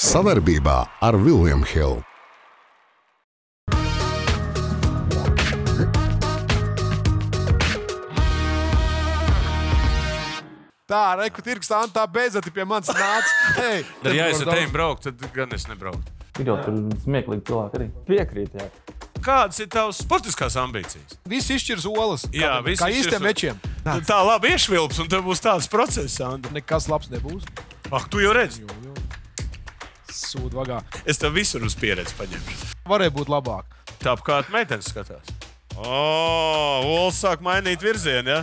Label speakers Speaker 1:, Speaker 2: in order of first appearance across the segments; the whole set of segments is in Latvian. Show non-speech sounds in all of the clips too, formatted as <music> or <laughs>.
Speaker 1: Savarbībā ar Vilniem Hilu.
Speaker 2: Tā, reku tirgus, Antā, beidzot pie manis nāca.
Speaker 3: <laughs>
Speaker 2: Hei,
Speaker 3: Tad, ja es ar tevi braucu, tad gan es nebraucu.
Speaker 4: Ir jau tur smieklīgi cilvēki arī. Piekrīt, jā.
Speaker 3: Kādas ir tavas sportiskās ambīcijas?
Speaker 2: Visi izšķirs olas.
Speaker 3: Jā,
Speaker 2: kā,
Speaker 3: visi
Speaker 2: kā
Speaker 3: izšķirs
Speaker 2: īstiem
Speaker 3: olas.
Speaker 2: mečiem.
Speaker 3: Tu Tā labi iešvilps, un tev būs tāds process, Andri.
Speaker 2: Nekas labs nebūs.
Speaker 3: Ak, tu jau redzi,
Speaker 2: Sūdu vagā.
Speaker 3: es tev visur uz pieredzi paņemšu.
Speaker 2: Varēja būt labāk.
Speaker 3: Tā kā meitene skatās. O, Olas sāk mainīt virzienu, ja?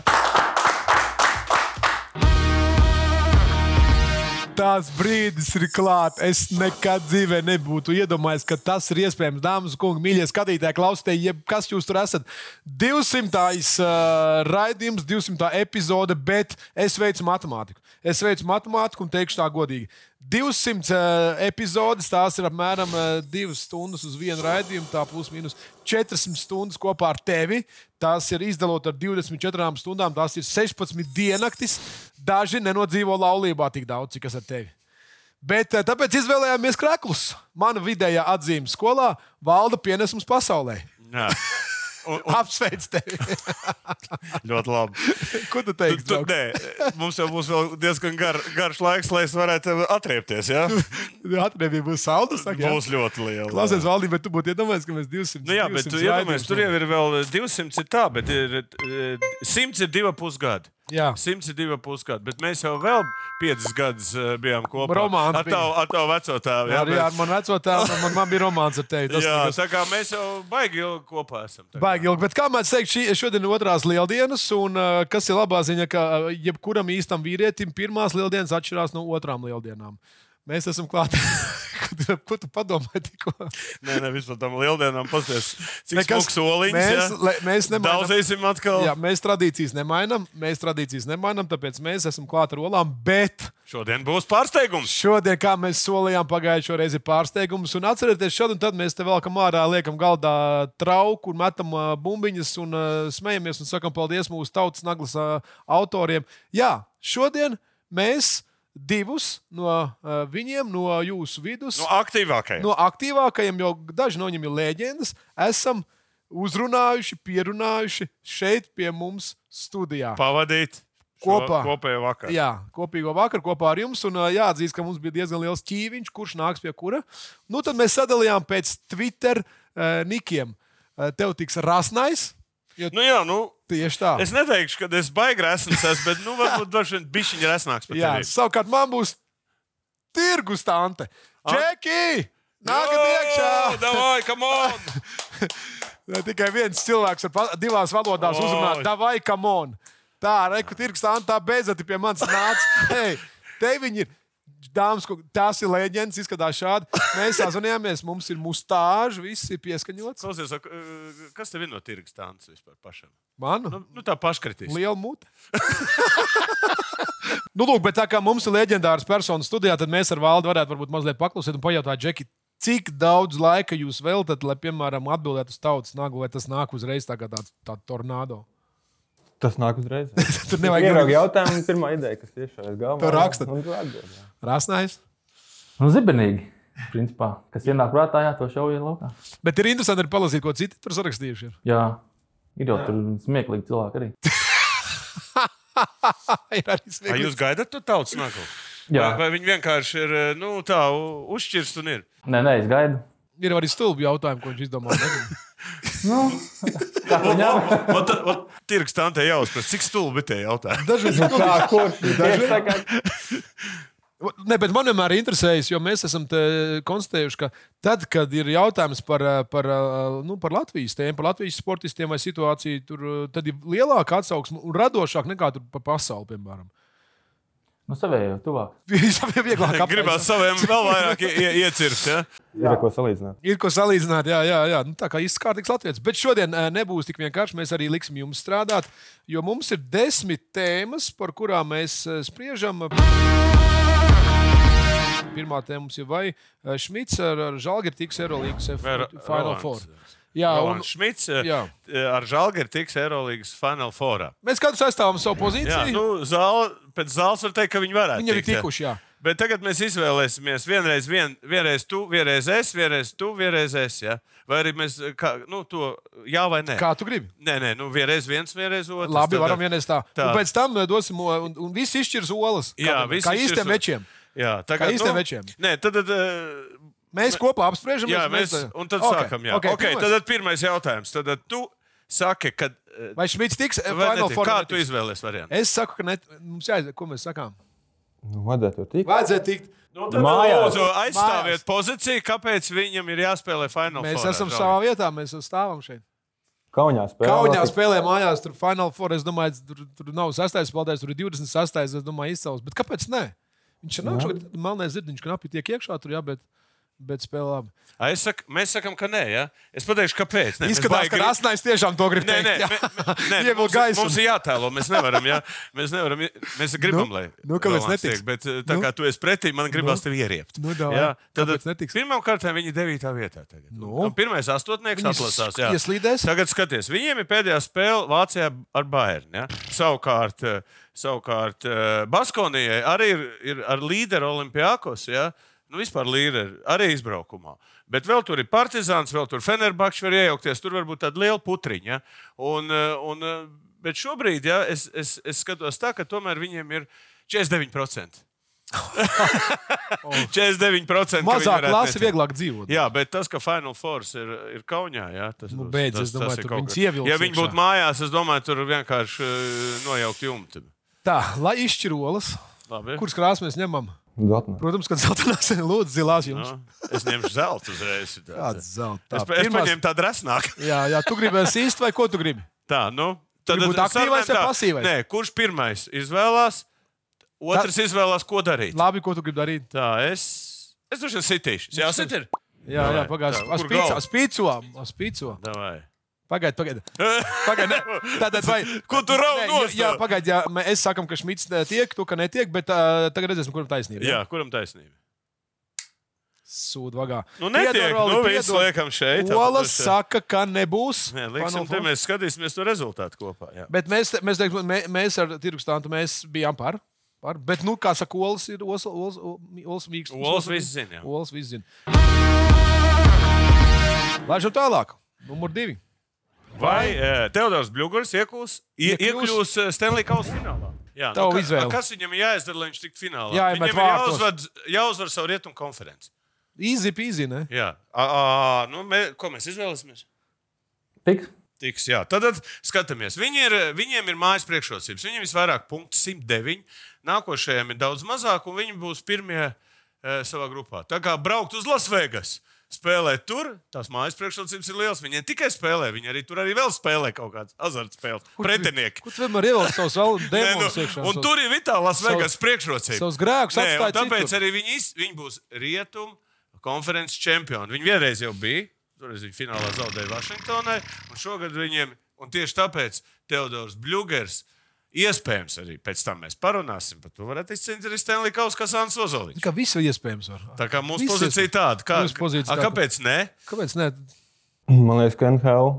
Speaker 2: Tās brīdis ir klāts. Es nekad dzīvē nebūtu iedomājies, ka tas ir iespējams. Dāmas un kungi, mīļie skatītāji, klausieties, jebkas jūs tur esat. 200. Uh, raidījums, 200. epizode, bet es veicu matemātiku. Es veicu matemātiku un teikšu tā godīgi. 200 uh, epizodes, tās ir apmēram 2 uh, stundas uz vienu raidījumu, tā plus mīnus 400 stundas kopā ar tevi. Tās ir izdalot ar 24 stundām, tās ir 16 diennaktis. Daži nenodzīvo laulībā tik daudz, cik es ar tevi. Bet eh, tāpēc izvēlējāmies krāklus. Mana vidējā atzīme skolā valda pienesums pasaulē.
Speaker 3: Jā. Un, un
Speaker 2: Apsveic tevi!
Speaker 3: <laughs>
Speaker 2: <laughs>
Speaker 3: ļoti labi.
Speaker 2: Ko tu
Speaker 3: Tu,
Speaker 2: teiksi?
Speaker 3: tu,
Speaker 2: draugs?
Speaker 3: nē, mums jau būs vēl diezgan gar, garš laiks, lai es varētu atriepties. Ja?
Speaker 2: Atrevi būs saldas. saka, <laughs> jā?
Speaker 3: Būs ļoti liela.
Speaker 2: Klausies, valdība, bet tu būtu iedomājies, ka mēs 200.
Speaker 3: Nu jā, bet tu
Speaker 2: 200
Speaker 3: iedomājies,
Speaker 2: raidījumus
Speaker 3: tur jau ir vēl 200, ir tā, bet ir, e, 100 ir divi pusgadi.
Speaker 2: Jā.
Speaker 3: 100 ir divi pusgadi, bet mēs jau vēl 5 gadus e, bijām kopā.
Speaker 2: Romāns
Speaker 3: ar tavu, ar tavu veco tēvu.
Speaker 2: Jā,
Speaker 3: Jā,
Speaker 2: arī ar manu veco tēvu, man, man bija romāns ar tevi. Tas
Speaker 3: jā,
Speaker 2: bija
Speaker 3: tā kā mēs jau baigi ilgi kopā esam. tagad.
Speaker 2: Baigi ilgi, bet kā man teikt, šī, šodien ir otrās lieldienas, un uh, kas ir labā ziņa, ka uh, jebkuram īstam vīrietim pirmās lieldienas atšķirās no otrām lieldienām. Mēs esam klāt. <laughs> Ko tu- Ko tu padomāji tikko?
Speaker 3: Nē, nē, vispār tam lieldienām pasties. Cik
Speaker 2: Nekas.
Speaker 3: smags soliņš.
Speaker 2: Mēs-
Speaker 3: jā?
Speaker 2: le- mēs nemainām-
Speaker 3: Daudzēsim atkal
Speaker 2: Jā, mēs tradīcijas nemainām, mēs tradīcijas nemainām, tāpēc mēs esam klāt ar olām, bet
Speaker 3: Šodien būs pārsteigums.
Speaker 2: Šodien, kā mēs solījām, pagājušo reizi ir pārsteigums. Un atcerieties, šad un tad mēs te vēlamies ārā, liekam, galdā trauku, un metam ā, bumbiņas un ā, smejamies un sakam paldies mūsu tautas naglas ā, autoriem. Jā, šodien mēs divus no ā, viņiem, no jūsu vidus,
Speaker 3: No
Speaker 2: no,
Speaker 3: aktīvākajiem.
Speaker 2: no aktīvākajiem, jo daži no viņiem ir leģendas, esam uzrunājuši, pierunājuši šeit pie mums studijā.
Speaker 3: Pavadīt šo
Speaker 2: Kopā.
Speaker 3: kopējo vakaru.
Speaker 2: Jā, kopīgo vakaru kopā ar jums. Un ā, jāatzīst, ka mums bija diezgan liels ķīviņš, kurš nāks pie kura. Nu, tad mēs sadalījām pēc Twitter uh, nikiem. Uh, tev tiks rasnais.
Speaker 3: Nu jā, nu.
Speaker 2: Tieši tā.
Speaker 3: Es neteikšu, ka es baigi resnīgs esmu, bet nu,
Speaker 2: <laughs>
Speaker 3: varbūt dažs bišķiņš resnāks par
Speaker 2: Jā,
Speaker 3: tevi.
Speaker 2: savukārt man būs tirgus tante. Čeki! Nāk iekšā!
Speaker 3: Davai, come on!
Speaker 2: <laughs> Tikai viens cilvēks ar pa- divās valodās
Speaker 3: Oi.
Speaker 2: uzrunāt, davai, kam on! Tā, reku tirgus tante, tā beidzot pie manis nāca. Hei, te viņi ir! Dāmas, ko- tās ir leģendas, izskatās šādi. Mēs sazvanījāmies, mums ir mustāža, viss ir pieskaņots.
Speaker 3: Klausies, ak, ā, kas tev ir no tirgus tāds vispār pašam?
Speaker 2: Manu?
Speaker 3: Nu, nu tā paškritīs.
Speaker 2: Liela mute. nu, lūk, bet tā kā mums ir leģendārs personas studijā, tad mēs ar Valdu varētu varbūt mazliet paklausīt un pajautāt, Džeki, cik daudz laika jūs veltat, lai, piemēram, atbildētu uz tautas nagu, lai tas nāk uzreiz tā kā tāds tā tornado. <laughs>
Speaker 4: Tas nāk uzreiz.
Speaker 2: Tur nevajag
Speaker 4: Ieraugu
Speaker 2: grūti.
Speaker 4: jautājumu, pirmā ideja, kas tiešām ir galvā.
Speaker 2: Tu raksti.
Speaker 4: Un tu atbild, jā.
Speaker 2: Rasnājs.
Speaker 4: Nu, zibenīgi. Principā, kas ienāk prātā, jā, to šaujiet laukā.
Speaker 2: Bet ir interesanti arī palasīt, ko citi tur sarakstījuši. <laughs> ir.
Speaker 4: Jā, ir jau tur smieklīgi cilvēki arī.
Speaker 2: ir arī
Speaker 3: Vai
Speaker 2: smieklīgi.
Speaker 3: jūs gaidāt to tautas nākotnē?
Speaker 4: Jā,
Speaker 3: Vai, vai viņi vienkārši ir ā, nu, tā u- uzšķirst un ir?
Speaker 4: nē, nē, es gaidu.
Speaker 2: Ir arī stulbi jautājumi, ko viņš izdomā. nezinu.
Speaker 4: Kā viņam?
Speaker 3: Tirgus tāntē jāuzprast, cik stulbi tie jautājumi. <laughs>
Speaker 2: Dažreiz nu,
Speaker 4: Tā, kurš ir tieši tā kā.
Speaker 2: <laughs> Ne, bet man vienmēr ir interesējis, jo mēs esam te konstatējuši, ka tad, kad ir jautājums par, eh, par, eh, nu, par Latvijas tēmu, par Latvijas sportistiem vai situāciju, tur, eh, tad ir lielāka atsauksme un radošāk nekā tur pa pasauli, piemēram. <laughs>
Speaker 4: Nu, savējo, tuvāk.
Speaker 2: Viņam ir
Speaker 3: <laughs>
Speaker 2: vieglāk
Speaker 3: Gribās
Speaker 2: apgleznot.
Speaker 3: saviem vēl vairāk ie- ie- iecirst. Ja?
Speaker 4: Ir ar ko salīdzināt.
Speaker 2: Ir ko salīdzināt, jā, jā, jā. Nu, tā kā īsts kārtīgs latvijas. Bet šodien eh, nebūs tik vienkārši. Mēs arī liksim jums strādāt, jo mums ir desmit tēmas, par kurām mēs eh, spriežam. Pirmā tēma mums ir vai eh, Šmits ar, ar Žalgiru tiks Eirolandes Final
Speaker 3: Rolands.
Speaker 2: Four. Jā, un
Speaker 3: Rolands Šmits ā,
Speaker 2: Jā.
Speaker 3: ā, e, ar Žalgari tiks Eirolandes Final Four.
Speaker 2: mēs katrs aizstāvam savu
Speaker 3: Jā,
Speaker 2: pozīciju.
Speaker 3: nu, zāle, pēc zāles var teikt, ka viņi varētu.
Speaker 2: Viņi ir
Speaker 3: tikt, jā.
Speaker 2: tikuši, jā.
Speaker 3: Bet tagad mēs izvēlēsimies vienreiz, vien, vienreiz tu, vienreiz es, vienreiz tu, vienreiz es. Ja? Vai arī mēs kā, nu, to jā vai nē?
Speaker 2: Kā tu gribi?
Speaker 3: Nē, nē, nu vienreiz viens, vienreiz otrs.
Speaker 2: Labi,
Speaker 3: Tad-
Speaker 2: varam vienreiz tā.
Speaker 3: Tā.
Speaker 2: Un pēc tam eh, dosim, eh, un, un viss izšķirs olas.
Speaker 3: Jā,
Speaker 2: Kādam,
Speaker 3: viss
Speaker 2: kā
Speaker 3: izšķirs
Speaker 2: īstiem
Speaker 3: o-
Speaker 2: večiem.
Speaker 3: Jā, tā
Speaker 2: Kā
Speaker 3: kā
Speaker 2: īstiem večiem.
Speaker 3: Nē, tad, tad eh,
Speaker 2: Mēs kopā apspriežam.
Speaker 3: jā,
Speaker 2: un
Speaker 3: mēs un tad
Speaker 2: Ok,
Speaker 3: okay. sākam.
Speaker 2: ok,
Speaker 3: Jā, okay, okay,
Speaker 2: pirmais.
Speaker 3: tad, tad pirmais jautājums. Tad, tad tu saki, kad. eh,
Speaker 2: Vai Šmits tiks eh,
Speaker 3: vai
Speaker 2: Final
Speaker 3: netiks?
Speaker 2: Four?
Speaker 3: Kā
Speaker 2: netiks?
Speaker 3: tu izvēlējies variantu?
Speaker 2: Es saku, ka net... mums jāizdara, ko mēs sakām.
Speaker 4: Nu, vajadzētu jau tikt.
Speaker 2: Vajadzētu tikt.
Speaker 3: Nu, tad
Speaker 4: Mājās.
Speaker 3: lūdzu, aizstāviet pozīciju, kāpēc viņam ir jāspēlē finālā.
Speaker 2: Mēs esam savā vietā, mēs stāvam šeit.
Speaker 4: Kaunijā spēlē.
Speaker 2: Kaunijā spēlē mājās, tur Final Four. Es domāju, tur, tur nav 6. spēlētājs, tur ir 26. Es domāju, izcels. Bet kāpēc ne? Viņš ir nākamais, kad melnais zirdziņš knapi tiek iekšā, tur jā, bet, bet spēlē labi.
Speaker 3: Es saku, mēs sakām, ka nē, ja? es pateikšu, kāpēc. Nē, mēs
Speaker 2: Izskatās,
Speaker 3: baigi
Speaker 2: ka
Speaker 3: grib-
Speaker 2: Rasnais tiešām to grib
Speaker 3: Nē, nē,
Speaker 2: teikt.
Speaker 3: mē-
Speaker 2: <laughs>
Speaker 3: mē- nē,
Speaker 2: Ievilk
Speaker 3: mums,
Speaker 2: gaisu.
Speaker 3: mums ir jātēlo. Mēs nevaram, jā, mēs nevaram, i- mēs gribam,
Speaker 2: Nu,
Speaker 3: lai.
Speaker 2: nu, kāpēc
Speaker 3: Rolands
Speaker 2: netiks?
Speaker 3: tiek, Bet eh, tā
Speaker 2: Nu.
Speaker 3: kā tu esi pretī, man gribas tevi ieriept. eh,
Speaker 2: Nu, davai. Kāpēc netiks?
Speaker 3: Pirmkārt, viņi ir 9. vietā. Tagad.
Speaker 2: Nu.
Speaker 3: Un Pirmais astotnieks
Speaker 2: Viņi
Speaker 3: atlasās.
Speaker 2: sk-
Speaker 3: jā.
Speaker 2: ieslīdēs.
Speaker 3: Tagad skaties, viņiem ir pēdējā spēle Vācijā ar Bayernu. Ja? Savukārt, eh, savukārt eh, Baskonijai arī ir, ir ar līderu Olimpijākos. Ja? Nu, vispār līderi arī izbraukumā. Bet vēl tur ir Partizāns, vēl tur Fenerbakšs var iejaukties. Tur var būt tāda liela putriņa. Ja? Un, eh, un, eh, bet šobrīd ja, es, es, es skatos tā, ka tomēr viņiem ir <laughs> 49%. 49% ka viņi
Speaker 2: Mazāk
Speaker 3: varētu
Speaker 2: klasa,
Speaker 3: netikt.
Speaker 2: vieglāk dzīvot.
Speaker 3: Jā, bet tas, ka Final Force ir, ir Kaunijā, jā, tas,
Speaker 2: Nu,
Speaker 3: tas-
Speaker 2: beidz,
Speaker 3: tas,
Speaker 2: es domāju,
Speaker 3: ir
Speaker 2: tur
Speaker 3: kaut
Speaker 2: viņus
Speaker 3: kas.
Speaker 2: ievilks
Speaker 3: Ja viņi
Speaker 2: iekšā.
Speaker 3: būtu mājās, es domāju, tur vienkārši eh, nojaukt jumtu.
Speaker 2: Tā, lai izšķirolas,
Speaker 3: Labi.
Speaker 2: kuras krāsas mēs ņemam.
Speaker 4: Dotnē.
Speaker 2: Protams, kad zeltainās ir lūdzu zilās jums.
Speaker 3: Nu, es ņemšu zelta uzreiz. Tā,
Speaker 2: Kāds zelta?
Speaker 3: Es,
Speaker 2: Tā,
Speaker 3: pa- es
Speaker 2: pirmās-
Speaker 3: paņēmu tādu rasnāku.
Speaker 2: Jā, jā, tu gribēsi īsti vai ko tu gribi?
Speaker 3: Tā, nu, tad
Speaker 2: Gribu būt
Speaker 3: tad
Speaker 2: aktīvais
Speaker 3: sarunājam
Speaker 2: vai
Speaker 3: tā.
Speaker 2: pasīvais?
Speaker 3: Nē, kurš pirmais izvēlās, otrs izvēlās, ko darīt.
Speaker 2: Labi, ko tu gribi darīt?
Speaker 3: Tā, es. Es droši vien sitīšu. Jā, sit ir.
Speaker 2: Jā, jā
Speaker 3: tā, kur
Speaker 2: pagaidi.
Speaker 3: galvu?
Speaker 2: Uz pīco, uz pīco.
Speaker 3: Davai.
Speaker 2: Pagaidi, pagaidi. Pagaid, Tātad, vai,
Speaker 3: Ko tu
Speaker 2: Nē,
Speaker 3: raugi nost?
Speaker 2: Jā, jā pagaidi, jā, mē- es sakam, ka Šmits ne- tiek, tu, ka netiek, bet uh, tagad redzēsim, kuram taisnība.
Speaker 3: Jā, kuram taisnība?
Speaker 2: Sūd vagā.
Speaker 3: Nu, netiek.
Speaker 2: Piedod, Roli,
Speaker 3: Nu, viss
Speaker 2: piedod.
Speaker 3: liekam šeit. tāpēc
Speaker 2: Olas
Speaker 3: droši vien.
Speaker 2: saka, ka nebūs.
Speaker 3: Nē, liksim,
Speaker 2: Final
Speaker 3: te
Speaker 2: Four.
Speaker 3: mēs skatīsimies to rezultātu kopā. Jā.
Speaker 2: Bet mēs, te- mēs, teiksim, mē- mēs ar Tirkstānu mēs bijām par. par. Bet, nu, kā saka, olas ir olas, olas, olas mīksts.
Speaker 3: Olas viss zina, jā.
Speaker 2: Olas viss zina. Laižam tālāk. Numur divi.
Speaker 3: Vai eh, Teodors Bļūgars iekļūs, ie-
Speaker 2: Iekļūs.
Speaker 3: iekļūs eh, Stanley Kausa finālā? Jā, nu,
Speaker 2: Tavu
Speaker 3: ka-
Speaker 2: izvēli.
Speaker 3: Kas viņam ir jāizdara, lai viņš tiktu finālā?
Speaker 2: Jāiemet
Speaker 3: viņam ir
Speaker 2: vārtos.
Speaker 3: jāuzved, jāuzvar savu rietumu konferenci.
Speaker 2: Easy peasy, ne?
Speaker 3: Jā, à, à, nu, mē, ko mēs izvēlēsimies?
Speaker 4: Tiks.
Speaker 3: Tiks, jā. Tad, tad skatāmies. Viņi ir, viņiem ir mājas priekšrocības. Viņiem visvairāk punktu 109. Nākošajam ir daudz mazāk, un viņi būs pirmie e, savā grupā. Tā kā braukt uz Lasvegas. Spēlēt tur, tās mājas priekšrocības ir liels. Viņi ne tikai spēlē, viņi arī tur arī vēl spēlē kaut kādas azartspēles. Pretinieki.
Speaker 2: Kur tu vienmēr ievelc savus
Speaker 3: <laughs>
Speaker 2: vēl
Speaker 3: Nē, nu,
Speaker 2: demonus iekšā?
Speaker 3: un
Speaker 2: savus-
Speaker 3: tur ir vitāla Lasvegas
Speaker 2: savus-
Speaker 3: priekšrocības.
Speaker 2: Savus grēkus
Speaker 3: Nē, un
Speaker 2: atstāja
Speaker 3: tāpēc
Speaker 2: citur.
Speaker 3: arī viņi, iz, viņi būs rietumu konferences čempioni. Viņi vienreiz jau bija, toreiz viņi finālā zaudēja Vašingtonai, un šogad viņiem, un tieši tāpēc Teodors Bļūgers. Iespējams, arī pēc tam mēs parunāsim par to. Varētu izcīnīt arī Stanley Kausa, kas Ansons Ozoliņš.
Speaker 2: Kā viss ir iespējams. Var.
Speaker 3: Tā kā mūsu
Speaker 2: Viss
Speaker 3: pozīcija ir tāda, kā,
Speaker 2: Mūsu pozīcija
Speaker 3: a,
Speaker 2: tāda.
Speaker 3: kāpēc ne?
Speaker 2: Kāpēc? Nē,
Speaker 4: <clears throat> Man liekas, ka NHL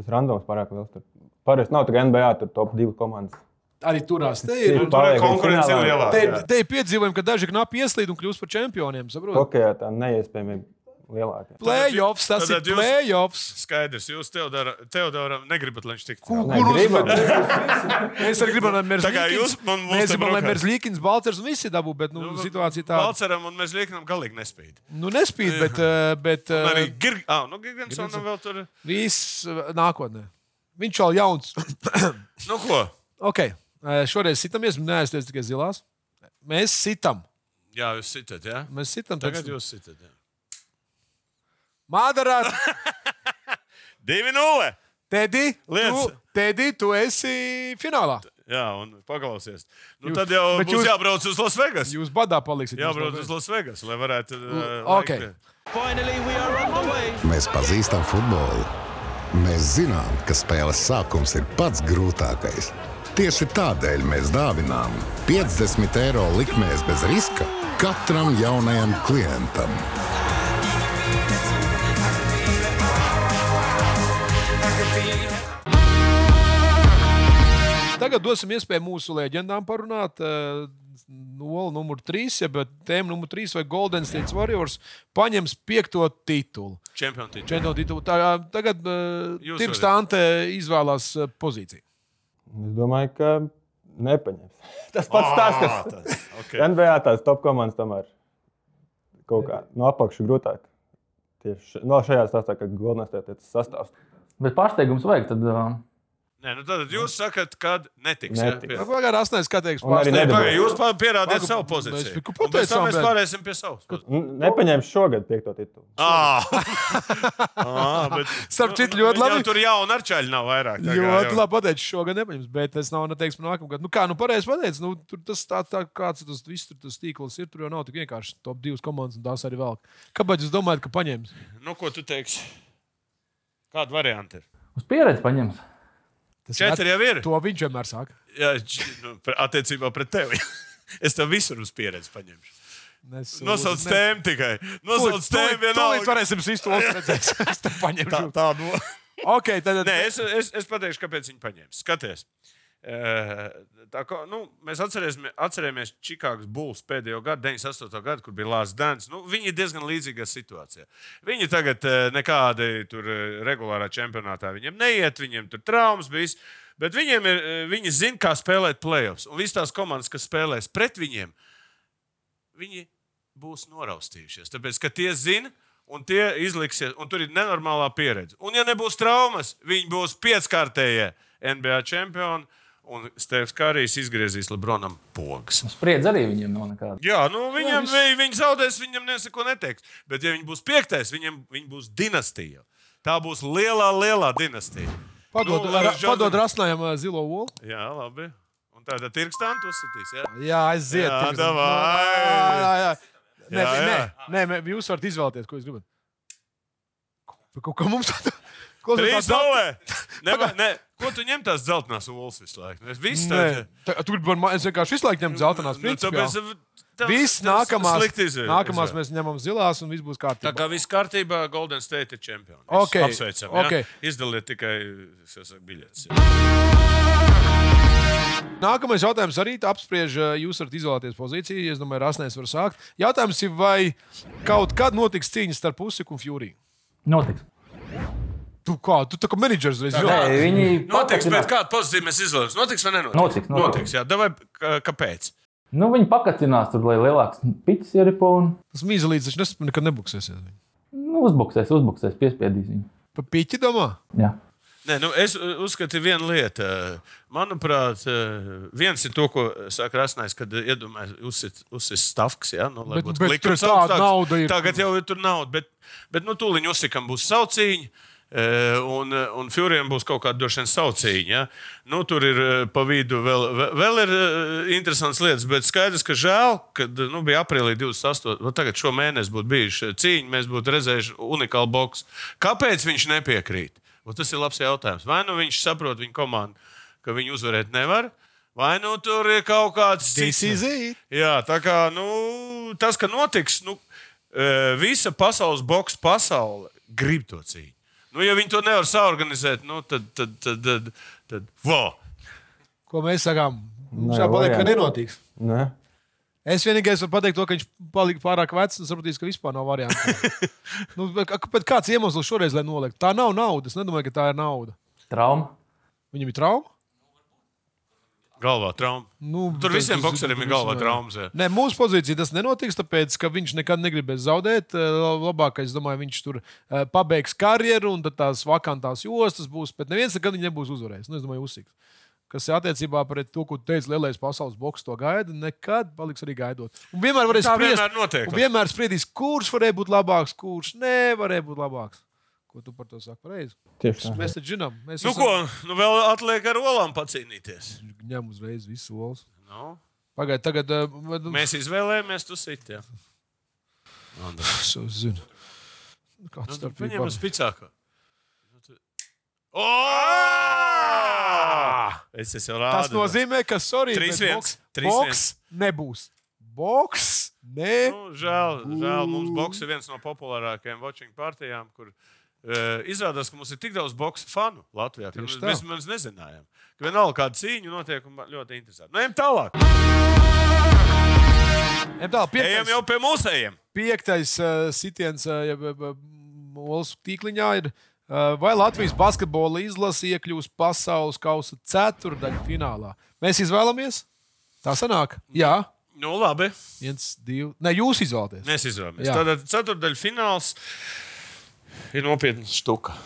Speaker 4: tas randoms pārāk liels. tur. Parasti nav tā, ka NBA tur top divi komandas.
Speaker 2: arī turās. Te ir,
Speaker 4: Nu,
Speaker 3: Tur
Speaker 4: Paliek,
Speaker 3: konkurence ir
Speaker 4: finālā.
Speaker 2: te ir,
Speaker 3: lielāka. jā.
Speaker 2: te ir piedzīvojumi, ka daži knapi ieslīd un kļūst par čempioniem. Saprot?
Speaker 4: Hokejā tā neiespējamība lielākā.
Speaker 2: Playoffs, tas ir
Speaker 3: Tātad jūs-
Speaker 2: playoffs.
Speaker 3: Skaidrs, jūs Teodora- Teodoram negribat, lai viņš tiktu.
Speaker 2: Kur
Speaker 4: Nē, gribat?
Speaker 2: uzvar? Mēs arī gribam, lai
Speaker 3: Tā kā jūs man mūs
Speaker 2: Mēs
Speaker 3: te
Speaker 2: gribam, lai
Speaker 3: braukāt.
Speaker 2: Merzlīkins, Balčers un visi dabū, bet nu, situācija tāda.
Speaker 3: Valceram un mēs liekam, galīgi nespīd.
Speaker 2: Nu, nespīd, bet, eh, bet
Speaker 3: Un Arī
Speaker 2: eh,
Speaker 3: Girgensonam ah, nu, Girgensonam vēl tur.
Speaker 2: viss eh, nākotnē. Viņš jau jauns.
Speaker 3: Nu, ko?
Speaker 2: ok, eh, šoreiz sitamies, neaizties tikai zilās. Mēs sitam.
Speaker 3: Jā, jūs sitat, jā.
Speaker 2: Mēs sitam.
Speaker 3: Tagad jūs sitat. jā.
Speaker 2: Mādarāt,
Speaker 3: 2-0.
Speaker 2: Tedi,
Speaker 3: Liec.
Speaker 2: tu, Tedi, tu esi finālā.
Speaker 3: Jā, un paklausies. Nu,
Speaker 2: Jūs-
Speaker 3: tad jau
Speaker 2: bet
Speaker 3: būs
Speaker 2: jūs-
Speaker 3: jūs... jābrauc uz Lasvegas.
Speaker 2: Jūs badā paliksiet. jūs
Speaker 3: Jābrauc
Speaker 2: labi.
Speaker 3: uz Lasvegas, lai varētu. Uh,
Speaker 2: ok.
Speaker 5: Finally, we are on the way.
Speaker 1: Mēs pazīstam futbolu. Mēs zinām, ka spēles sākums ir pats grūtākais. Tieši tādēļ mēs dāvinām 50 eiro likmēs bez riska katram jaunajam klientam.
Speaker 2: Tagad dosim iespēju mūsu leģendām parunāt. eh, 0, numur 3, ja, bet tēma numur 3 vai Golden State Warriors paņems piekto titulu.
Speaker 3: Čempionu titulu.
Speaker 2: Čempionu titulu. Tā, ā, tagad uh,
Speaker 3: Jūs
Speaker 2: Tirks
Speaker 3: varat.
Speaker 2: Tante izvēlās ā, pozīciju.
Speaker 4: Es domāju, ka nepaņems. Tas pats tas,
Speaker 3: Ah,
Speaker 4: kas
Speaker 3: Okay.
Speaker 4: NBA tās top komandas tomēr kaut kā no apakšas grūtāk. Tieši š- no šajā stāstā, kad Goldenas tēta sastāvs.
Speaker 6: Bet pārsteigums vajag. Tad, uh,
Speaker 3: Nē, nu tad jūs sakat, kad netiks. jā? Pie-
Speaker 4: Netiks.
Speaker 2: Pagaidā, astotnes skatījums.
Speaker 4: Un arī
Speaker 2: pārsteidz.
Speaker 4: nedabū.
Speaker 3: Pagaid, Jūs pa- pierādiet
Speaker 2: Pagu-
Speaker 3: savu
Speaker 2: Mēs
Speaker 3: pozīciju.
Speaker 2: tiku
Speaker 3: Un pēc
Speaker 2: pateicām,
Speaker 3: tam mēs
Speaker 2: bet-
Speaker 3: pārēsim pie savas. pozīcijas.
Speaker 4: N- Nepaņems šogad piekto titulu.
Speaker 2: <laughs>
Speaker 3: Ā! Ā, bet-
Speaker 2: Starp citu,
Speaker 3: Nu,
Speaker 2: ļoti
Speaker 3: viņam
Speaker 2: labi.
Speaker 3: Tur jau narčaļi nav vairāk. tā kā
Speaker 2: Ļoti
Speaker 3: jau.
Speaker 2: labi pateicis, šogad nepaņems, bet es nav neteiksim nākamgad. Nu, kā, nu, pareizi pateicis, nu, tur tas tā, tā kāds tas viss tur tas tīkls ir, tur jau nav tik vienkārši top divas komandas un tās arī vēl. Kāpēc jūs domājat, ka paņems?
Speaker 3: Nu, ko tu teiksi? Kāda varianta ir?
Speaker 6: uz pieredzi paņems.
Speaker 2: Tas
Speaker 3: Četri jau ir.
Speaker 2: To viņš vienmēr saka.
Speaker 3: Jā, č- nu, pre- attiecībā pret tevi. <laughs> Es tev visur uz pieredzi paņemšu.
Speaker 2: Nes-
Speaker 3: Nosauc
Speaker 2: nes-
Speaker 3: tēmu tikai.
Speaker 2: Tūlīt,
Speaker 3: Nosauc tēmu
Speaker 2: tūlīt, tūlīt
Speaker 3: vienalga.
Speaker 2: varēsim sistos redzēt.
Speaker 3: <laughs>
Speaker 2: Es te paņemšu.
Speaker 3: Tā, tā no.
Speaker 2: Ok, tad.
Speaker 3: Nē, es, es, es pateikšu, kāpēc viņi paņēma. Skaties, Eh, tā kā, nu, mēs atcerēsimies, atcerēsimies Čikāgas būvs pēdējo gadu, 98. gadu, kur bija Lārs Dārns. Nu, viņi ir diezgan līdzīgā situācijā. Viņi tagad eh, nekādi tur eh, regulārā čempionātā viņiem neiet, viņiem tur traumas bijis. Bet viņiem ir, eh, viņi zina, kā spēlēt playoffs. Un visas tās komandas, kas spēlēs pret viņiem, viņi būs noraustījušies. Tāpēc, ka tie zina, un tie izliksies, un tur ir nenormālā pieredze. Un, ja nebūs traumas, viņi būs pieckārtējie NBA čempioni, un Stefans Kārijs izgriezīs Lebronam pogas.
Speaker 6: Spriedz arī viņiem nav nekāda.
Speaker 3: Jā, nu viņam,
Speaker 6: viss.
Speaker 3: vi, viņi zaudēs, viņam nesako neteiks. Bet, ja viņi būs piektais, viņiem viņi būs dinastija. Tā būs lielā, lielā dinastija.
Speaker 2: Padod,
Speaker 3: Nu,
Speaker 2: ra,
Speaker 3: Jordan-
Speaker 2: padod rasnājam ā, zilo olu.
Speaker 3: Jā, labi. Un tādā tirkstā tu uzsitīs. Jā?
Speaker 2: Jā, aiziet.
Speaker 3: Jā,
Speaker 2: Tirks.
Speaker 3: davai.
Speaker 2: Nu, Jā, jā. Nē,
Speaker 3: Jā,
Speaker 2: nē,
Speaker 3: jā.
Speaker 2: nē, nē, jūs varat izvēlēties, ko jūs gribat. Kaut kā mums tāda.
Speaker 3: Trīs dolē! Neba, ne, ko tu ņem tās dzeltenās olas visu laiku? Es Viss tāds.
Speaker 2: Tur bija man, es vienkārši visu laiku ņemu zeltainās.
Speaker 3: Nu,
Speaker 2: principiāli.
Speaker 3: tev-
Speaker 2: Viss
Speaker 3: tev
Speaker 2: nākamās,
Speaker 3: slikti izvēle.
Speaker 2: nākamās mēs ņemam zilās, un viss būs
Speaker 3: Tā
Speaker 2: kārtībā.
Speaker 3: kā viss kārtībā, Golden State ir čempions.
Speaker 2: Ok,
Speaker 3: Apsveicam. ja?
Speaker 2: ok.
Speaker 3: Izdaliet tikai es jau saku, biļetes.
Speaker 2: Nākamais jautājums arī apspriež, ā, jūs varat izvēlēties pozīciju. Es domāju, Rasnēs var sākt. Jautājums ir, vai kaut kad notiks cīņa starp Usiku un Fjuriju?
Speaker 6: Notiks.
Speaker 2: Tu kā, tu tā kā menedžers reiz
Speaker 6: Nē,
Speaker 2: jau.
Speaker 6: viņi
Speaker 3: Notiks, bet
Speaker 6: pakacinās.
Speaker 3: kāda pozīcija mēs izvēlamies? Notiks vai nenotiks?
Speaker 6: Notiks, notiks.
Speaker 3: notiks jā, davai, k- kāpēc?
Speaker 6: Nu, viņi pakacinās tur, lai lielāks piķis ir un
Speaker 2: Tas mīzelīts, viņš nes- nekad nebuksēsies.
Speaker 6: nu, uzbuksēs, uzbuksēs, piespiedīs viņu.
Speaker 2: Pa piķi domā?
Speaker 6: Jā.
Speaker 3: Nē, nu, es uh, uzskatu, ir viena lieta. eh, Manuprāt, uh, viens ir to, ko saka Rasnēs, kad uh, iedomājas, uzsit, uzsit stafks. Ja? Nu, lai
Speaker 2: Bet-
Speaker 3: būtu
Speaker 2: bet
Speaker 3: likums
Speaker 2: tur tāda
Speaker 3: augstāks.
Speaker 2: nauda ir.
Speaker 3: Tagad jau ir tur nauda, bet, bet nu, tūlīt uzsikam būs saucīņi. eh, Un, un Fjuriem būs kaut kāda droši vien saucīņa. Ja? Nu, tur ir eh, pa vidu vēl, vē- vēl ir eh, interesants lietas, bet skaidrs, ka žēl, ka nu, bija aprīlī 28. Nu, tagad šo mēnesi būtu bijuši cīņa, mēs būtu redzējuši unikālu boksu. Kāpēc viņš nepiekrīt? Un tas ir labs jautājums. Vai nu viņš saprot viņa komandu, ka viņi uzvarēt nevar, vai nu tur ir kaut kāds cits.
Speaker 2: it.
Speaker 3: Jā, tā kā nu, tas, ka notiks, nu, e, visa pasaules boxe pasaule grib to cīņu. Nu, ja viņi to nevar saorganizēt, nu, tad, tad, tad, tad, tad vo!
Speaker 2: Ko mēs sakām? Mums
Speaker 4: Nē,
Speaker 2: jāpaliek, ka
Speaker 4: variants.
Speaker 2: nenotiks.
Speaker 4: Nē.
Speaker 2: Es vienīgais varu pateikt, to, ka viņš palika pārāk vecs un sapratīšu, ka vispār nav
Speaker 3: <laughs>
Speaker 2: variantu. nu, bet, kā- bet kāds iemesls šoreiz, lai noliektu? Tā nav nauda. Es nedomāju, ka tā ir nauda.
Speaker 6: Trauma.
Speaker 2: Viņam ir trauma.
Speaker 3: Galvā trauma.
Speaker 2: Nu,
Speaker 3: Tur
Speaker 2: tas-
Speaker 3: visiem
Speaker 2: tas-
Speaker 3: bokseriem ir
Speaker 2: tas-
Speaker 3: galvā
Speaker 2: jā.
Speaker 3: traumas. jā.
Speaker 2: Nē, mūsu pozīcija tas nenotiks, tāpēc, ka viņš nekad negribēs zaudēt. Eh, Labākais, domāju, viņš tur eh, pabeigs karjeru un tad tās vakantās jostas būs. Bet neviens nekad viņu nebūs uzvarējis. Nu, es domāju, uzsīgs. Kas attiecībā pret to, ko teica lielais pasaules boks, to gaida, nekad paliks arī gaidot. Un vienmēr varēs
Speaker 3: Tā
Speaker 2: spriest,
Speaker 3: vienmēr notiek.
Speaker 2: un vienmēr spriedīs, kurš varēja būt labāks, kurš nevarēja būt labāks. Ko tu par to saki? Pareizi.
Speaker 4: Tieši tā.
Speaker 2: Mēs taču zinām, mēs
Speaker 3: Nu,
Speaker 2: esam-
Speaker 3: ko, nu, vēl atliek ar olām pacīnīties.
Speaker 2: ņem uzreiz visu solis.
Speaker 3: Nu,
Speaker 2: Pagaidiet, tagad. eh, vad-
Speaker 3: mēs izvēlējāmies to sitā.
Speaker 2: Es jau zinu. Nu, Kāds
Speaker 3: Nu,
Speaker 2: starp
Speaker 3: viņam
Speaker 2: viņiem
Speaker 3: ir spēcīgāk. Es esmu rādījis.
Speaker 2: Tas nozīmē, ka sorry,
Speaker 3: Trīs
Speaker 2: bet
Speaker 3: viens,
Speaker 2: boks,
Speaker 3: trīs
Speaker 2: boks nebūs. Boks ne.
Speaker 3: Nu, žēl, žēl, mums boks ir viens no populārākajiem watching partijām, kur eh, izrādās, ka mums ir tik daudz boxe fanu Latvijā, ka
Speaker 2: Tieši
Speaker 3: mēs,
Speaker 2: tā.
Speaker 3: mēs, mēs nezinājām, ka vienalga kāda cīņa notiek un man ļoti interesanti. Nu, ejam tālāk.
Speaker 2: MTL
Speaker 3: Ejam jau pie mūsējiem.
Speaker 2: piektais uh, sitiens, uh, jeb uh, olas tīkliņā ir. ā, Vai Latvijas basketbola izlase iekļūs pasaules kausa ceturdaļā finālā? Mēs izvēlamies. Tā sanāk, jā,
Speaker 3: Nu, labi.
Speaker 2: viens, divi. Nē, jūs izvēlaties.
Speaker 3: Mēs izvēlamies.
Speaker 2: Jā.
Speaker 3: Tātad ceturdaļfināls ir nopietna štuka.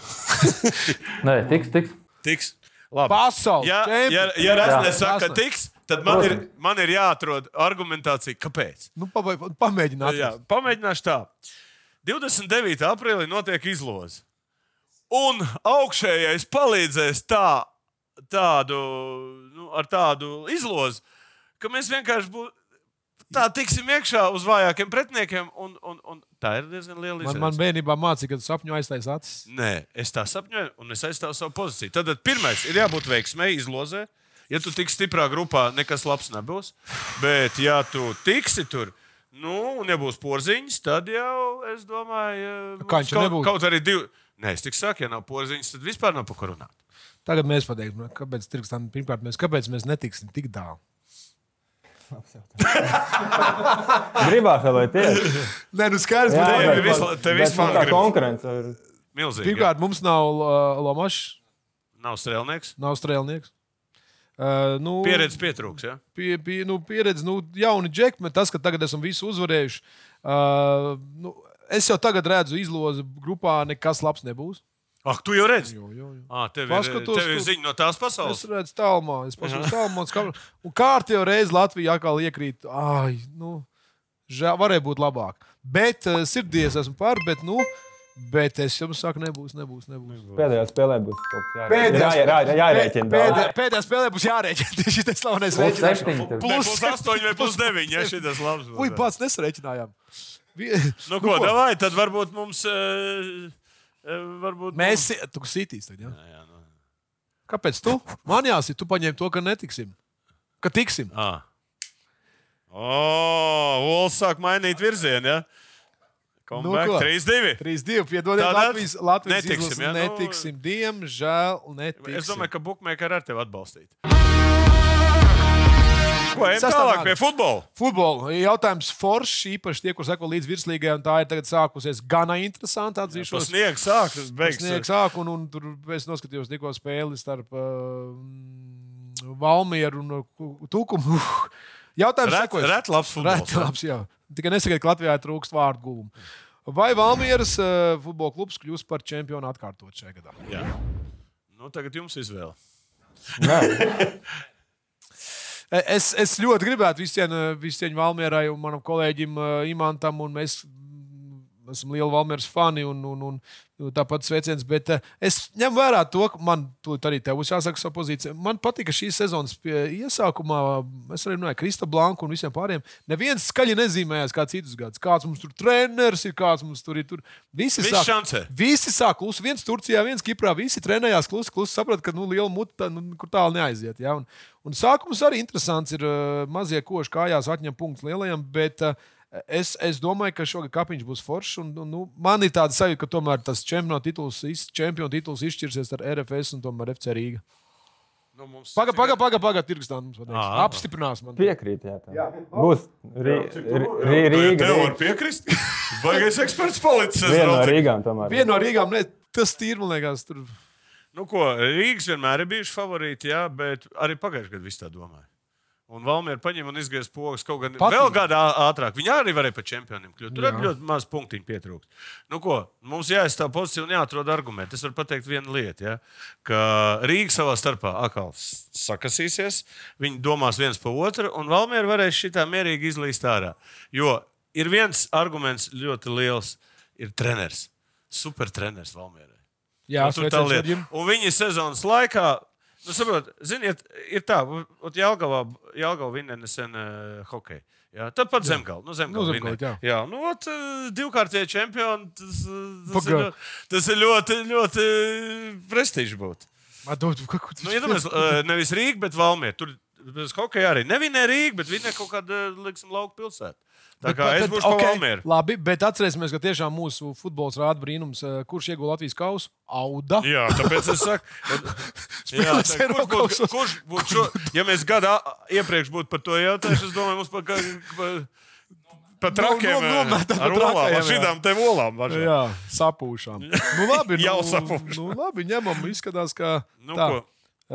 Speaker 6: Nē, tiks, tiks.
Speaker 3: Tiks. Labi.
Speaker 2: Pasaules
Speaker 3: Ja, ja,
Speaker 2: čempions.
Speaker 3: ja Rasnē
Speaker 6: Jā.
Speaker 3: saka,
Speaker 2: Rasne.
Speaker 3: tiks, tad man ir,
Speaker 6: Protams.
Speaker 3: man ir jāatrod argumentācija, kāpēc.
Speaker 2: Nu, pabai- pamēģināt.
Speaker 3: Jā, pamēģināšu tā. 29. aprīlī notiek izloze. Un augšējais palīdzēs tā, tādu, nu, ar tādu izlozi, ka mēs vienkārši bū, tā tiksim iekšā uz vājākiem pretiniekiem. Un, un, un tā ir diezgan
Speaker 2: Man,
Speaker 3: liela izlozme.
Speaker 2: man bērnībā mācīja, kad sapņu aiztaisīja acis.
Speaker 3: Nē, es tā sapņoju, un es aizstāvu savu pozīciju. Tad pirmais ir jābūt veiksmēji izlozē. Ja tu tiksi stiprā grupā, nekas labs nebūs. Bet, ja tu tiksi tur, nu, un nebūs porziņas, tad jau es domāju, ka
Speaker 2: Kaņķa
Speaker 3: kaut,
Speaker 2: Nu, nebūtu.
Speaker 3: kaut arī divi. Nē, es tikai saku, ja nav porziņas, tad vispār nav par ko runāt.
Speaker 2: Tagad mēs pateiksim, kāpēc, tirkstam, pirmkārt, mēs, kāpēc mēs netiksim tik tālu.
Speaker 4: Gribētu, lai tieši
Speaker 2: Nē, nu skaidrs,
Speaker 4: Jā,
Speaker 2: ka
Speaker 3: tev ir
Speaker 4: bet-
Speaker 3: visla- tev
Speaker 4: bet,
Speaker 3: viss
Speaker 4: nu,
Speaker 3: man
Speaker 4: tā
Speaker 3: gribas.
Speaker 4: konkurence. ir-
Speaker 3: Milzīgi. Pirmkārt,
Speaker 2: pirmkārt mums nav uh, lomašs,
Speaker 3: nav strēlnieks.
Speaker 2: nav strēlnieks. Uh, nu,
Speaker 3: Pieredze pietrūks. Ja?
Speaker 2: pie, pie, nu, pieredze, nu, jauni džekļi, tas, ka tagad esam visu uzvarējuši. Uh, nu, es jau tagad redzu, izlozi grupā nekas labs nebūs.
Speaker 3: Ak, tu jau redzi.
Speaker 2: Jo, jo, jo.
Speaker 3: Ah, tev ir,
Speaker 2: Paskatos
Speaker 3: tev ir
Speaker 2: tu-
Speaker 3: ziņa no tās
Speaker 2: Es
Speaker 3: pasaules.
Speaker 2: redzu, tālumā, es paskatos tālumā, un skatu- un kārtīgi reizē Latvija atkal iekrīt. Ai, nu, žēl, varēja būt labāk. Bet uh, sirdies esmu par, bet, nu, bet es jums saku, nebūs, nebūs, nebūs.
Speaker 4: Pēdējā spēlē būs kaut kas
Speaker 2: Pēdējā
Speaker 4: jārēķina. Jā, jā, jā, jārēķina.
Speaker 2: Pēdē,
Speaker 4: daudz.
Speaker 2: pēdējā spēlē būs jārēķina. <laughs> Šis tas slavenais
Speaker 6: Plus
Speaker 2: rēķinājums.
Speaker 6: septiņi. tev.
Speaker 3: Nē, Plus
Speaker 2: Plus-
Speaker 3: 8 vai plus 9. Ja, šitas labs būs.
Speaker 2: Ui, pats nesarēķinājām. Vi-
Speaker 3: Nu, ko, davai, tad varbūt mums. eh, eh, Varbūt
Speaker 2: Mēs tur sitīs. Tad, ja?
Speaker 3: Jā, nu.
Speaker 2: Kāpēc tu? Man jāsaka, tu paņēmi to, ka netiksim. Ka tiksim.
Speaker 3: Ah. Oh, Olas sāk mainīt virzienu. Ja? Comeback
Speaker 2: Nu ko?
Speaker 3: 3-2.
Speaker 2: 3-2. Piedodiet,
Speaker 3: Tātad
Speaker 2: Latvijas, Latvijas
Speaker 3: netiksim,
Speaker 2: izlases
Speaker 3: ja? Nu,
Speaker 2: netiksim. Diemžēl netiksim.
Speaker 3: Es domāju, ka Bookmaker ar tevi atbalstīt. Ko ejam
Speaker 2: Sastāvā.
Speaker 3: tālāk pie futbola?
Speaker 2: Futbola jautājums forši, īpaši tie, kur seko līdz virslīgai, un tā ir tagad sākusies gana interesanti atzīšanās.
Speaker 3: Pusniegs sākas,
Speaker 2: Sniegs
Speaker 3: beigas.
Speaker 2: sāk, un, un tur es noskatījos tikko spēli starp uh, mm, Valmieru un uh, Tukumu. Jautājums
Speaker 3: Ret-
Speaker 2: sekojas.
Speaker 3: ret labs futbols,
Speaker 2: Ret
Speaker 3: jā.
Speaker 2: labs, jā. Tikai nesakiet, ka Latvijā trūkst vārdu guvumu. Vai Valmieras uh, futbola klubs kļūs par čempionu atkārtot šajā gadā?
Speaker 3: Jā. Nu, tagad jums izvēle.
Speaker 2: E- Es, es ļoti gribētu visiem, eh, visiem Valmierai un manam kolēģim eh, Imantam, un mēs mm, esam lieli Valmieras fani un, un, un nu, tāpat sveiciens. Bet eh, es ņemu vērā to, ka man tūlīt arī tev būs jāsaka savu pozīciju. Man patika šīs sezonas pie- iesākumā, es arī runāju ar Krista Blanku un visiem pārējiem. Neviens skaļi nezīmējās kā citus gadus. Kāds mums tur treneris ir, kāds mums tur ir. Tur. Visi
Speaker 3: Viss šancē.
Speaker 2: Visi sāk klusi. Viens Turcijā, viens Kiprā. Visi trenējās klusi. klusi saprata, ka nu, liela muta, nu, kur tālu neaiziet. Ja? Un, un sākums arī interesants. Ir uh, mazie koši kājās, atņem punktus lielajiem. Bet, uh, Es, es domāju, ka šogad kapiņš būs foršs. Un, un, nu, man ir tāda sajūta, ka tomēr tas čempionu tituls, iz- čempionu tituls izšķirsies ar RFS un tomēr FC Rīgā.
Speaker 3: Nu, mums
Speaker 2: Pagaid, pagaid, pagaid, pagaid, tirgstā mums pateiks.
Speaker 3: Ā, ā.
Speaker 2: Apstiprinās man.
Speaker 4: Piekrīt, jā. tā. Būs Rī- Rī- Rī-
Speaker 3: Rīga. Tev var
Speaker 4: Rīga.
Speaker 3: piekrist? Vai es eksperts palicis? es
Speaker 4: Viena no
Speaker 3: draudzīgi.
Speaker 4: Rīgām tomēr.
Speaker 2: Viena no Rīgām, ne, tas tīri, man liekas, tur.
Speaker 3: Nu, ko, Rīgas vienmēr ir bijuši favorīti, jā, bet arī pagājušajā gadā viss tā domāja. Un Valmiera paņēma un izgāja pogas kaut gan
Speaker 2: Patīk.
Speaker 3: Patīk. vēl gadā ātrāk. Viņa arī varēja par čempioniem kļūt. Tur arī ļoti maz punktiņu pietrūkst. Nu, ko, mums jāizstāv pozīcija un jāatrod argumenti. Es varu pateikt vienu lietu, ja, ka Rīga savā starpā atkal s- sakasīsies, viņi domās viens par otru, un Valmiera varēs šitā mierīgi izlīst ārā. Jo ir viens arguments ļoti liels - ir treneris. Super treneris Valmierai.
Speaker 2: Jā,
Speaker 3: Nu, tur tā
Speaker 2: sveiciens
Speaker 3: lieta.
Speaker 2: Edžim.
Speaker 3: Un viņi sezonas laikā, nu, saprotiet, ziniet, ir tā, ka Jālgavā, Jālgavā vinnēja nesen uh, hokeju. Jā, tad pat Zemgala. Nu, Zemgala
Speaker 2: Nu,
Speaker 3: nu,
Speaker 2: Zemgala,
Speaker 3: jā. jā, nu, ot, eh, divkārtie čempioni. Tas, eh, tas, ir,
Speaker 2: Pagā.
Speaker 3: ļo- tas ir ļoti, ļoti eh, prestižs būt.
Speaker 2: Atdod, ka- ko tu-
Speaker 3: Nu, iedomājies, eh, nevis eh, Rīga, bet Valmiera. Tur tas hokeja arī nevinē Rīga, bet viņa kaut kāda, liksim, lauka pilsēta. Tā kā es būšu okay. Palmēra.
Speaker 2: Labi, bet atcerēsimies, ka tiešām mūsu futbols rāda brīnums, eh, kurš iegūst Latvijas kausu. Auda.
Speaker 3: Jā, tāpēc
Speaker 2: <laughs>
Speaker 3: es saku, jā,
Speaker 2: Spēlēs
Speaker 3: tā, kurš būtu,
Speaker 2: Eirokausā.
Speaker 3: kurš būtu šo, ja mēs gadu iepriekš būtu par to jautājuši, es domāju, mums par kā.
Speaker 2: No-
Speaker 3: Pat
Speaker 2: no-
Speaker 3: trakiem, eh,
Speaker 2: nometā pa
Speaker 3: ar olām, ar
Speaker 2: trakajiem, jā.
Speaker 3: šīm te olām. važā.
Speaker 2: Jā, sapūšām. Nu, labi,
Speaker 3: <laughs> Jau
Speaker 2: nu,
Speaker 3: sapūšām.
Speaker 2: Nu, labi, ņemam, izskatās, ka.
Speaker 3: Nu,
Speaker 2: tā,
Speaker 3: ko,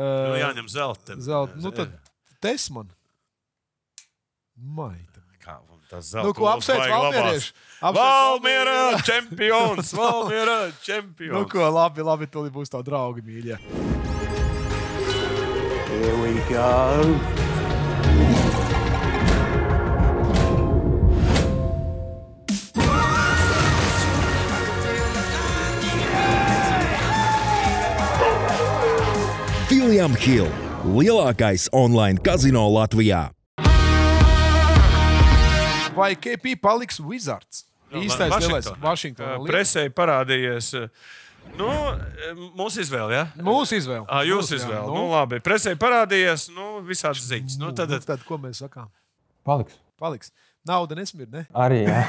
Speaker 2: eh,
Speaker 3: nu, jāņem zelta.
Speaker 2: Zelta. Nu, tad Tesman. Maita.
Speaker 3: Kā man tas zelta?
Speaker 2: Nu, ko
Speaker 3: būs
Speaker 2: apsveic
Speaker 3: baigi
Speaker 2: Valmierieši?
Speaker 3: labās.
Speaker 2: Apsveic
Speaker 3: Valmiera
Speaker 2: Valmierieši.
Speaker 3: čempions!
Speaker 2: <laughs>
Speaker 3: Valmiera čempions!
Speaker 2: Nu, ko, labi, labi, tu būsi tā draugi, mīļie.
Speaker 7: Filiam Hill - lielākais online kazino Latvijā.
Speaker 2: Vai KP paliks Wizards? Īstais lielais Vašingtonā.
Speaker 3: Uh,
Speaker 2: Liel-
Speaker 3: Presē parādījies. uh, Nu, mūsu izvēle, jā.
Speaker 2: Mūsu izvēle.
Speaker 3: À, jūs
Speaker 2: Mūsu, jā,
Speaker 3: izvēlējāt. Nu, labi, presē parādījās, nu, visādas ziņas. Nu, tad,
Speaker 2: tad, ko mēs sakām?
Speaker 4: Paliks.
Speaker 2: Paliks. Nauda nesmird, ne?
Speaker 4: Arī jā.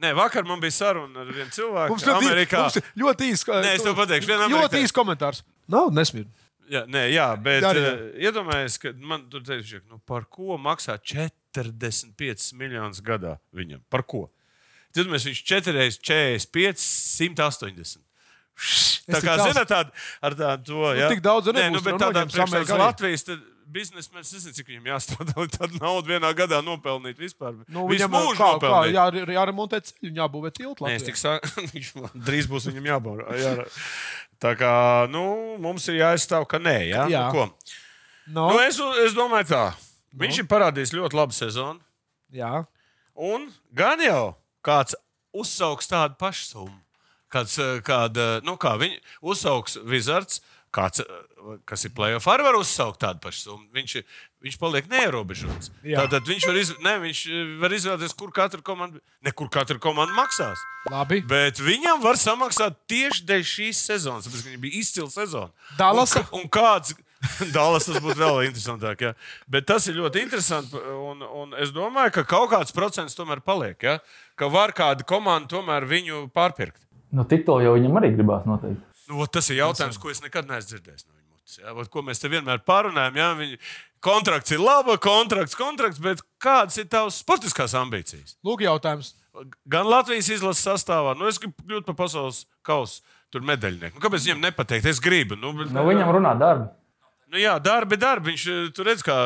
Speaker 3: nē, vakar man bija saruna ar vienu cilvēku.
Speaker 2: Mums ļoti,
Speaker 3: Amerikā.
Speaker 2: mums ir ļoti īsts komentārs.
Speaker 3: Nē, es tev pateikšu, vien Amerikā.
Speaker 2: Ļoti īsts komentārs. Nauda nesmird.
Speaker 3: Jā, nē, jā bet
Speaker 2: Jā,
Speaker 3: jā,
Speaker 2: arī,
Speaker 3: jā.
Speaker 2: jā.
Speaker 3: Uh, iedomājieties, ka man tur teica, nu, par ko maksā 45 miljonus gadā viņam? Par ko? Tad mēs viņš 4 reizes 45, 180. Tā
Speaker 2: Es tik
Speaker 3: kā
Speaker 2: daudz-
Speaker 3: zināt, tāda ar tādu to
Speaker 2: Nu,
Speaker 3: jā.
Speaker 2: tik daudz arī
Speaker 3: Nē, nu,
Speaker 2: nebūs,
Speaker 3: bet
Speaker 2: no
Speaker 3: tādā
Speaker 2: noņems
Speaker 3: formā,
Speaker 2: samērīgi
Speaker 3: kā
Speaker 2: arī.
Speaker 3: Latvijas tad biznesmenis, es nezinu, cik viņam jāstrādā, lai tādu naudu vienā gadā nopelnītu vispār.
Speaker 2: Nu,
Speaker 3: Visu
Speaker 2: viņam
Speaker 3: mūžu
Speaker 2: kā, kā,
Speaker 3: nopelnīt.
Speaker 2: jā, jāremontē ceļu, jābūvē tiltu.
Speaker 3: Nē, es
Speaker 2: Latvijā.
Speaker 3: tik saku, <laughs> viņš man drīz būs viņam jābaura. Jā. Tā kā nu, mums ir jāizstāv, ka nē, jā.
Speaker 2: Jā.
Speaker 3: Nu, ko?
Speaker 2: No,
Speaker 3: Nu, es, es domāju, tā. Viņš ir parādījis ļoti labu sezonu.
Speaker 2: jā.
Speaker 3: Un gan jau kāds uzsauks tādu pašu summu. Kāds, eh, kāda, nu, kā viņi uzsauks Wizards, kāds, eh, kas ir playoff, arī var uzsaukt tādu pašu summu. Viņš, ir- viņš paliek neierobežots.
Speaker 2: Jā.
Speaker 3: Tātad viņš var, iz, ne, viņš eh, var izvēlēties, kur katra komanda, ne, kur katra komanda maksās.
Speaker 2: Labi.
Speaker 3: Bet viņam var samaksāt tieši dēļ šīs sezonas, tāpēc, ka viņam bija izcila sezona.
Speaker 2: Dallasa?
Speaker 3: Un, un kāds. <laughs> Dālas tas būtu vēl interesantāk. Jā. Bet tas ir ļoti interesanti. Un, un es domāju, ka kaut kāds procents tomēr paliek. Jā. Ka var kāda komanda tomēr viņu pārpirkt.
Speaker 6: Nu, titulu jau viņam arī gribās noteikti.
Speaker 3: Nu, vot tas ir jautājums, ko es nekad neesmu dzirdējis no viņa mutes. jā. Vot Ko mēs te vienmēr pārunājam. Jā. Viņa kontrakts ir laba, kontrakts, kontrakts, bet kādas ir tavas sportiskās ambīcijas?
Speaker 2: Lūk, jautājums.
Speaker 3: gan Latvijas izlases sastāvā, nu, es gribu kļūt par pasaules kausa tur medaļnieku. Nu, kāpēc viņam nepateikt? Es gribu. Nu, bet,
Speaker 6: Nu, viņam runā darbi.
Speaker 3: nu, jā, darbi, darbi. Viņš eh, tur redz, kā